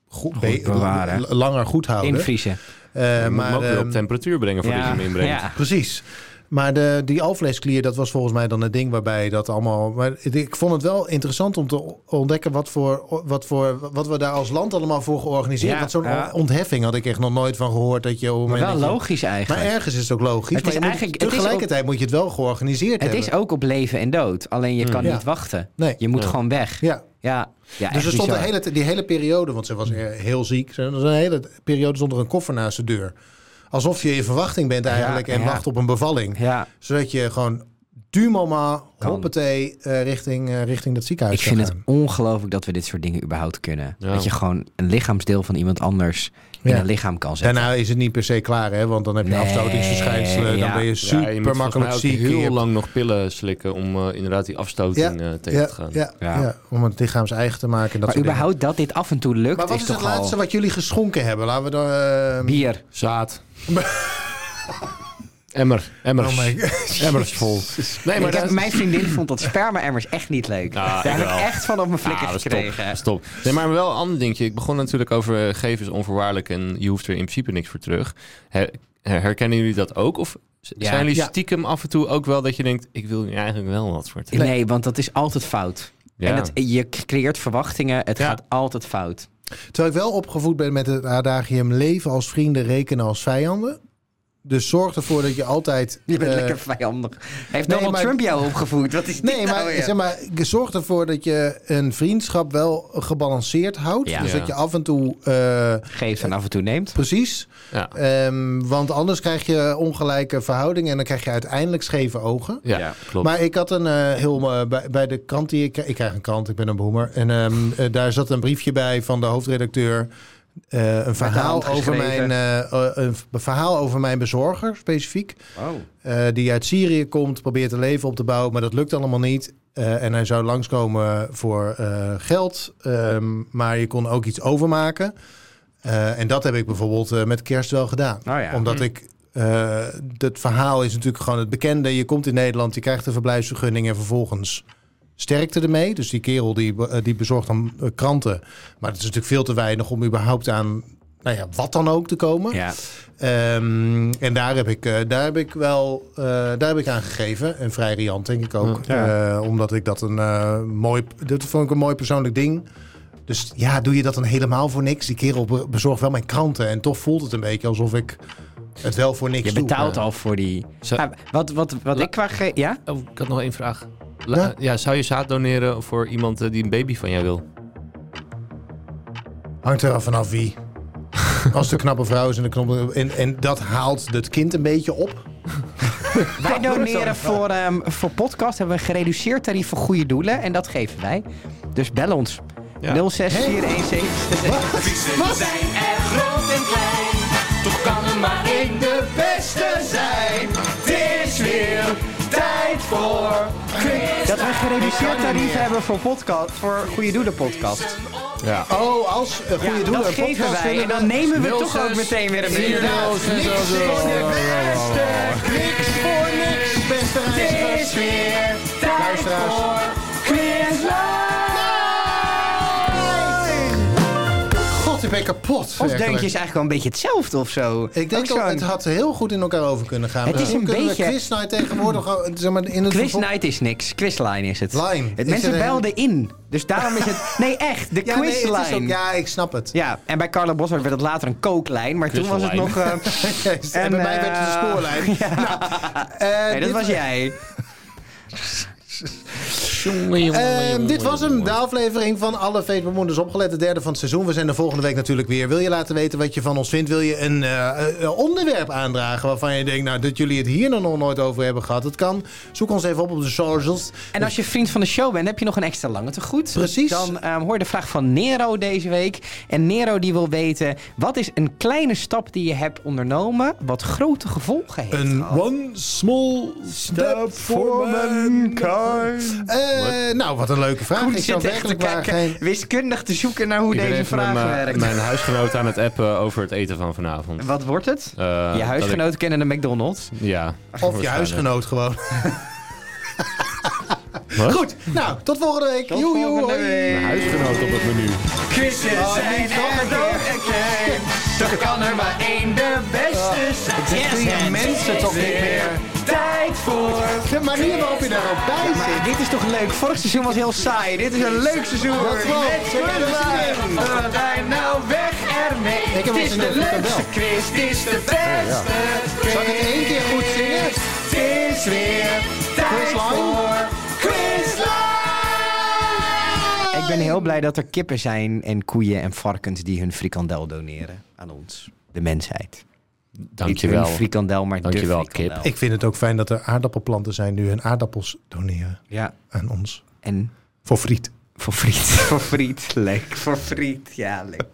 S2: goed, be-
S3: bewaren.
S2: l- langer goed houden.
S3: Invriezen.
S2: Eh,
S1: Je moet hem
S2: maar,
S1: ook weer
S2: ehm,
S1: op temperatuur brengen voordat je hem inbrengt.
S3: ja.
S2: Precies. Maar de, die alvleesklier, dat was volgens mij dan het ding waarbij dat allemaal. Maar het- ik vond het wel interessant om te ontdekken wat, voor, wat, voor, wat we daar als land allemaal voor georganiseerd
S3: Ja,
S2: hebben. Want zo'n
S3: ja.
S2: ontheffing had ik echt nog nooit van gehoord. Dat je, op het
S3: Maar
S2: moment
S3: wel
S2: dat je-
S3: logisch
S2: Maar
S3: eigenlijk.
S2: ergens is het ook logisch.
S3: Het
S2: maar
S3: is
S2: je moet-
S3: eigenlijk- het is
S2: tegelijkertijd moet je het wel georganiseerd
S3: het
S2: hebben. Hmm.
S3: is ook op leven en dood. Alleen je kan
S2: Ja.
S3: niet wachten.
S2: Nee.
S3: Je moet gewoon weg. Ja.
S2: Ja.
S3: ja.
S2: Dus
S3: echt
S2: er stond de
S3: bizar. Mm.
S2: hele, die hele periode, want ze was eh, heel ziek. Er was een hele periode zonder een koffer naast de deur. Alsof je in verwachting bent eigenlijk en
S3: ja.
S2: wacht op een bevalling.
S3: Ja.
S2: Zodat je gewoon du mama, hoppatee, eh, richting, eh, richting dat ziekenhuis
S3: Ik vind
S2: kan
S3: het
S2: gaan.
S3: ongelooflijk dat we dit soort dingen überhaupt kunnen.
S1: Ja.
S3: Dat je gewoon een lichaamsdeel van iemand anders in
S2: Ja.
S3: een lichaam kan zetten.
S2: Daarna is het niet per se klaar, hè? want dan heb je
S3: Nee,
S2: afstotingsverschijnselen.
S3: ja.
S2: Dan ben je
S1: Ja, je
S2: super
S1: moet volgens
S2: makkelijk
S1: mij ook
S2: ziek.
S1: heel
S2: je hebt-
S1: lang nog pillen slikken om eh, inderdaad die afstoting eh, tegen
S2: ja,
S1: te gaan.
S2: ja,
S3: Ja.
S2: ja. om het lichaams eigen te maken. en Dat
S3: maar
S2: soort
S3: überhaupt dat dit af en toe lukt,
S2: dingen. maar wat is,
S3: toch
S2: het laatste
S3: al
S2: wat jullie geschonken hebben? Laten we dan... eh,
S3: bier.
S1: Zaad. Emmer. Emmers.
S2: Oh my
S1: Emmers vol. Nee,
S3: Ik
S1: maar
S3: heb,
S1: dat-
S3: mijn vriendin vond dat sperma-emmers echt niet leuk.
S1: Ah,
S3: Daar
S1: ik
S3: heb ik
S1: wel.
S3: echt van op mijn flikker
S1: Ah, dat is top,
S3: gekregen.
S1: dat is top. Nee, maar wel een ander dingetje. Ik begon natuurlijk over eh, geven is onvoorwaardelijk en je hoeft er in principe niks voor terug. Her- herkennen jullie dat ook? Of z-
S3: Ja.
S1: zijn jullie
S2: Ja.
S1: stiekem af en toe ook wel dat je denkt, ik wil hier eigenlijk wel wat voor terug?
S3: Nee, want dat is altijd fout.
S1: Ja.
S3: En het, je creëert verwachtingen, het
S1: Ja.
S3: gaat altijd fout.
S2: Terwijl ik wel opgevoed ben met het adagium leven als vrienden, rekenen als vijanden. Dus zorg ervoor dat je altijd...
S3: Je bent
S2: eh,
S3: lekker vijandig. Heeft
S2: nee,
S3: Donald
S2: maar-
S3: Trump jou opgevoed? Wat is dit
S2: Nee,
S3: nou
S2: maar,
S3: weer?
S2: zeg maar zorg ervoor dat je een vriendschap wel gebalanceerd houdt.
S1: Ja.
S2: Dus
S1: Ja.
S2: dat je af en toe... eh,
S3: Geeft en af en toe neemt.
S2: precies.
S1: Ja.
S2: Ehm, want anders krijg je ongelijke verhoudingen en dan krijg je uiteindelijk scheve ogen.
S1: Ja,
S3: Ja.
S1: klopt.
S2: Maar ik had een eh, heel eh, bij, bij de krant die ik ik krijg een krant, ik ben een boemer en ehm, eh, daar zat een briefje bij van de hoofdredacteur. eh, een, verhaal over
S3: geschreven.
S2: mijn, eh, eh, een v- verhaal over mijn bezorger specifiek.
S3: Oh.
S2: eh, die uit Syrië komt, probeert een leven op te bouwen, maar dat lukt allemaal niet. Eh, en hij zou langskomen voor eh, geld, ehm, maar je kon ook iets overmaken. Eh, en dat heb ik bijvoorbeeld eh, met kerst wel gedaan.
S3: Oh ja.
S2: Omdat ik. eh dat verhaal is natuurlijk gewoon het bekende. Je komt in Nederland, je krijgt een verblijfsvergunning en vervolgens sterkte ermee. Dus die kerel die, be- eh, die bezorgt dan eh, kranten. Maar dat is natuurlijk veel te weinig om überhaupt aan nou ja, wat dan ook te komen.
S3: Ja.
S2: Ehm, en daar heb ik, eh, daar heb ik wel eh, daar heb ik aan gegeven. En vrij riant, denk ik ook.
S3: Ja.
S2: Eh, omdat ik dat een eh, mooi. Dat vond ik een mooi persoonlijk ding. Dus ja, doe je dat dan helemaal voor niks? Die kerel be- bezorgt wel mijn kranten. En toch voelt het een beetje alsof ik het wel voor niks
S3: Je
S2: doe.
S3: betaalt
S2: Eh,
S3: al voor die...
S1: Zo-
S3: Ah, wat wat, wat
S1: La-
S3: ik qua... ge- Ja?
S1: Oh, ik had nog één vraag. La-
S2: Ja?
S1: ja? zou je zaad doneren voor iemand eh, die een baby van jou wil?
S2: Hangt er al vanaf wie. Als de knappe vrouw is en de knappe... En, en dat haalt het kind een beetje op.
S3: Wij doneren voor, ehm, voor podcast. Hebben we een gereduceerd tarief voor goede doelen. En dat geven wij. Dus bel ons.
S1: Ja.
S3: 064117.
S4: Ze zijn er groot en klein, toch kan er maar één de beste zijn. Het is weer tijd voor quiz.
S3: Dat we een gereduceerd tarief hebben voor, podcast, voor goede doelen podcast.
S1: Ja.
S2: Oh, als eh, goede doelen.
S3: dat
S2: een
S3: geven
S2: podcast
S3: wij.
S2: willen
S3: En dan nemen we toch
S1: 06
S3: ook meteen weer een
S1: vier
S3: beetje.
S1: nul zes
S2: Niks
S1: zes
S2: is
S1: zes.
S2: de beste. Niks voor niks, beste
S4: Het
S2: reizigers.
S4: is weer tijd
S2: Luisteraars.
S4: voor quiz
S2: God, ik ben kapot.
S3: Ons
S2: werkelijk.
S3: deuntje is eigenlijk wel een beetje hetzelfde of zo.
S2: Ik denk
S3: ook
S2: dat het had heel goed in elkaar over kunnen gaan.
S3: Het is
S2: Misschien
S3: een
S2: kunnen
S3: beetje-
S2: we Quiz Night tegenwoordig al- zeg maar, in het
S3: Quiz
S2: vervol-
S3: night is niks. Quizline is het.
S2: Line.
S3: Het
S2: Is
S3: mensen
S2: er een-
S3: belden in. Dus daarom is het... Nee, echt. De
S2: Ja, nee, het is
S3: quizline.
S2: ook- ja, ik snap het.
S3: Ja, en bij Carla Boswijk werd het later een kooklijn, maar toen was het nog...
S1: Quizlijn.
S2: en,
S3: eh, En,
S2: bij mij werd het de
S3: eh,
S2: spoorlijn. Nou, eh,
S3: nee, dat
S2: dit
S3: was jij.
S2: Ehm, dit was hem, de aflevering van alle Feestbemoeders opgelet. De derde van het seizoen. We zijn er volgende week natuurlijk weer. Wil je laten weten wat je van ons vindt? Wil je een eh, eh, onderwerp aandragen waarvan je denkt... Nou, dat jullie het hier nog nooit over hebben gehad? Dat kan. Zoek ons even op op de socials.
S3: En als je vriend van de show bent, heb je nog een extra lange tegoed.
S2: Precies.
S3: Dan ehm, hoor je de vraag van Nero deze week. En Nero die wil weten, wat is een kleine stap die je hebt ondernomen, wat grote gevolgen heeft?
S2: Een
S3: gehad?
S2: one small step for mankind. nou, wat een leuke vraag.
S3: Goed
S2: ik zou
S3: zit echt te
S2: werkelijk waar geen...
S3: kijken, wiskundig te zoeken naar hoe
S1: Ik ben
S3: deze
S1: even
S3: vraag
S1: met mijn- eh,
S3: werkt.
S1: Mijn huisgenoot aan het appen over het eten van vanavond.
S3: Wat wordt het?
S1: Eh, dat
S3: je
S1: ik-
S3: huisgenoot kennen de McDonald's.
S1: ja.
S2: Of je huisgenoot gewoon.
S1: Wat?
S2: Goed, nou, tot volgende week. Joe, joe,
S3: volgende
S2: hoi.
S3: week.
S1: Mijn huisgenoot op het menu.
S4: Quizzen zijn er groot en klein, toch kan er maar één de beste zijn.
S2: goeie
S4: het
S2: mensen
S4: is
S2: toch niet
S4: weer
S2: meer.
S4: Tijd voor
S2: De manier waarop je daar ook bij zit.
S3: Maar dit is toch leuk? Vorig seizoen was heel saai. Dit is een leuk seizoen.
S2: Dat wel.
S3: Met
S2: Zeker
S3: Quizline.
S2: weten.
S4: Wat wij nou weg ermee.
S2: Ik heb
S4: het
S2: eens
S4: is
S2: een
S4: de
S2: leuke
S4: leukste
S2: tabel.
S4: quiz, het is de beste quiz.
S2: Zal ik het één keer goed zingen?
S4: Het is weer tijd
S2: Quizline?
S4: voor Quizline.
S3: Ik ben heel blij dat er kippen zijn en koeien en varkens die hun frikandel doneren aan ons. De mensheid. Niet
S1: Dankjewel.
S3: hun frikandel, maar
S1: Dankjewel,
S3: de frikandel.
S2: Ik vind het ook fijn dat er aardappelplanten zijn nu hun aardappels doneren
S3: Ja,
S2: aan ons.
S3: en
S2: Voor friet.
S3: voor friet. voor friet, leuk. Voor friet, ja, leuk.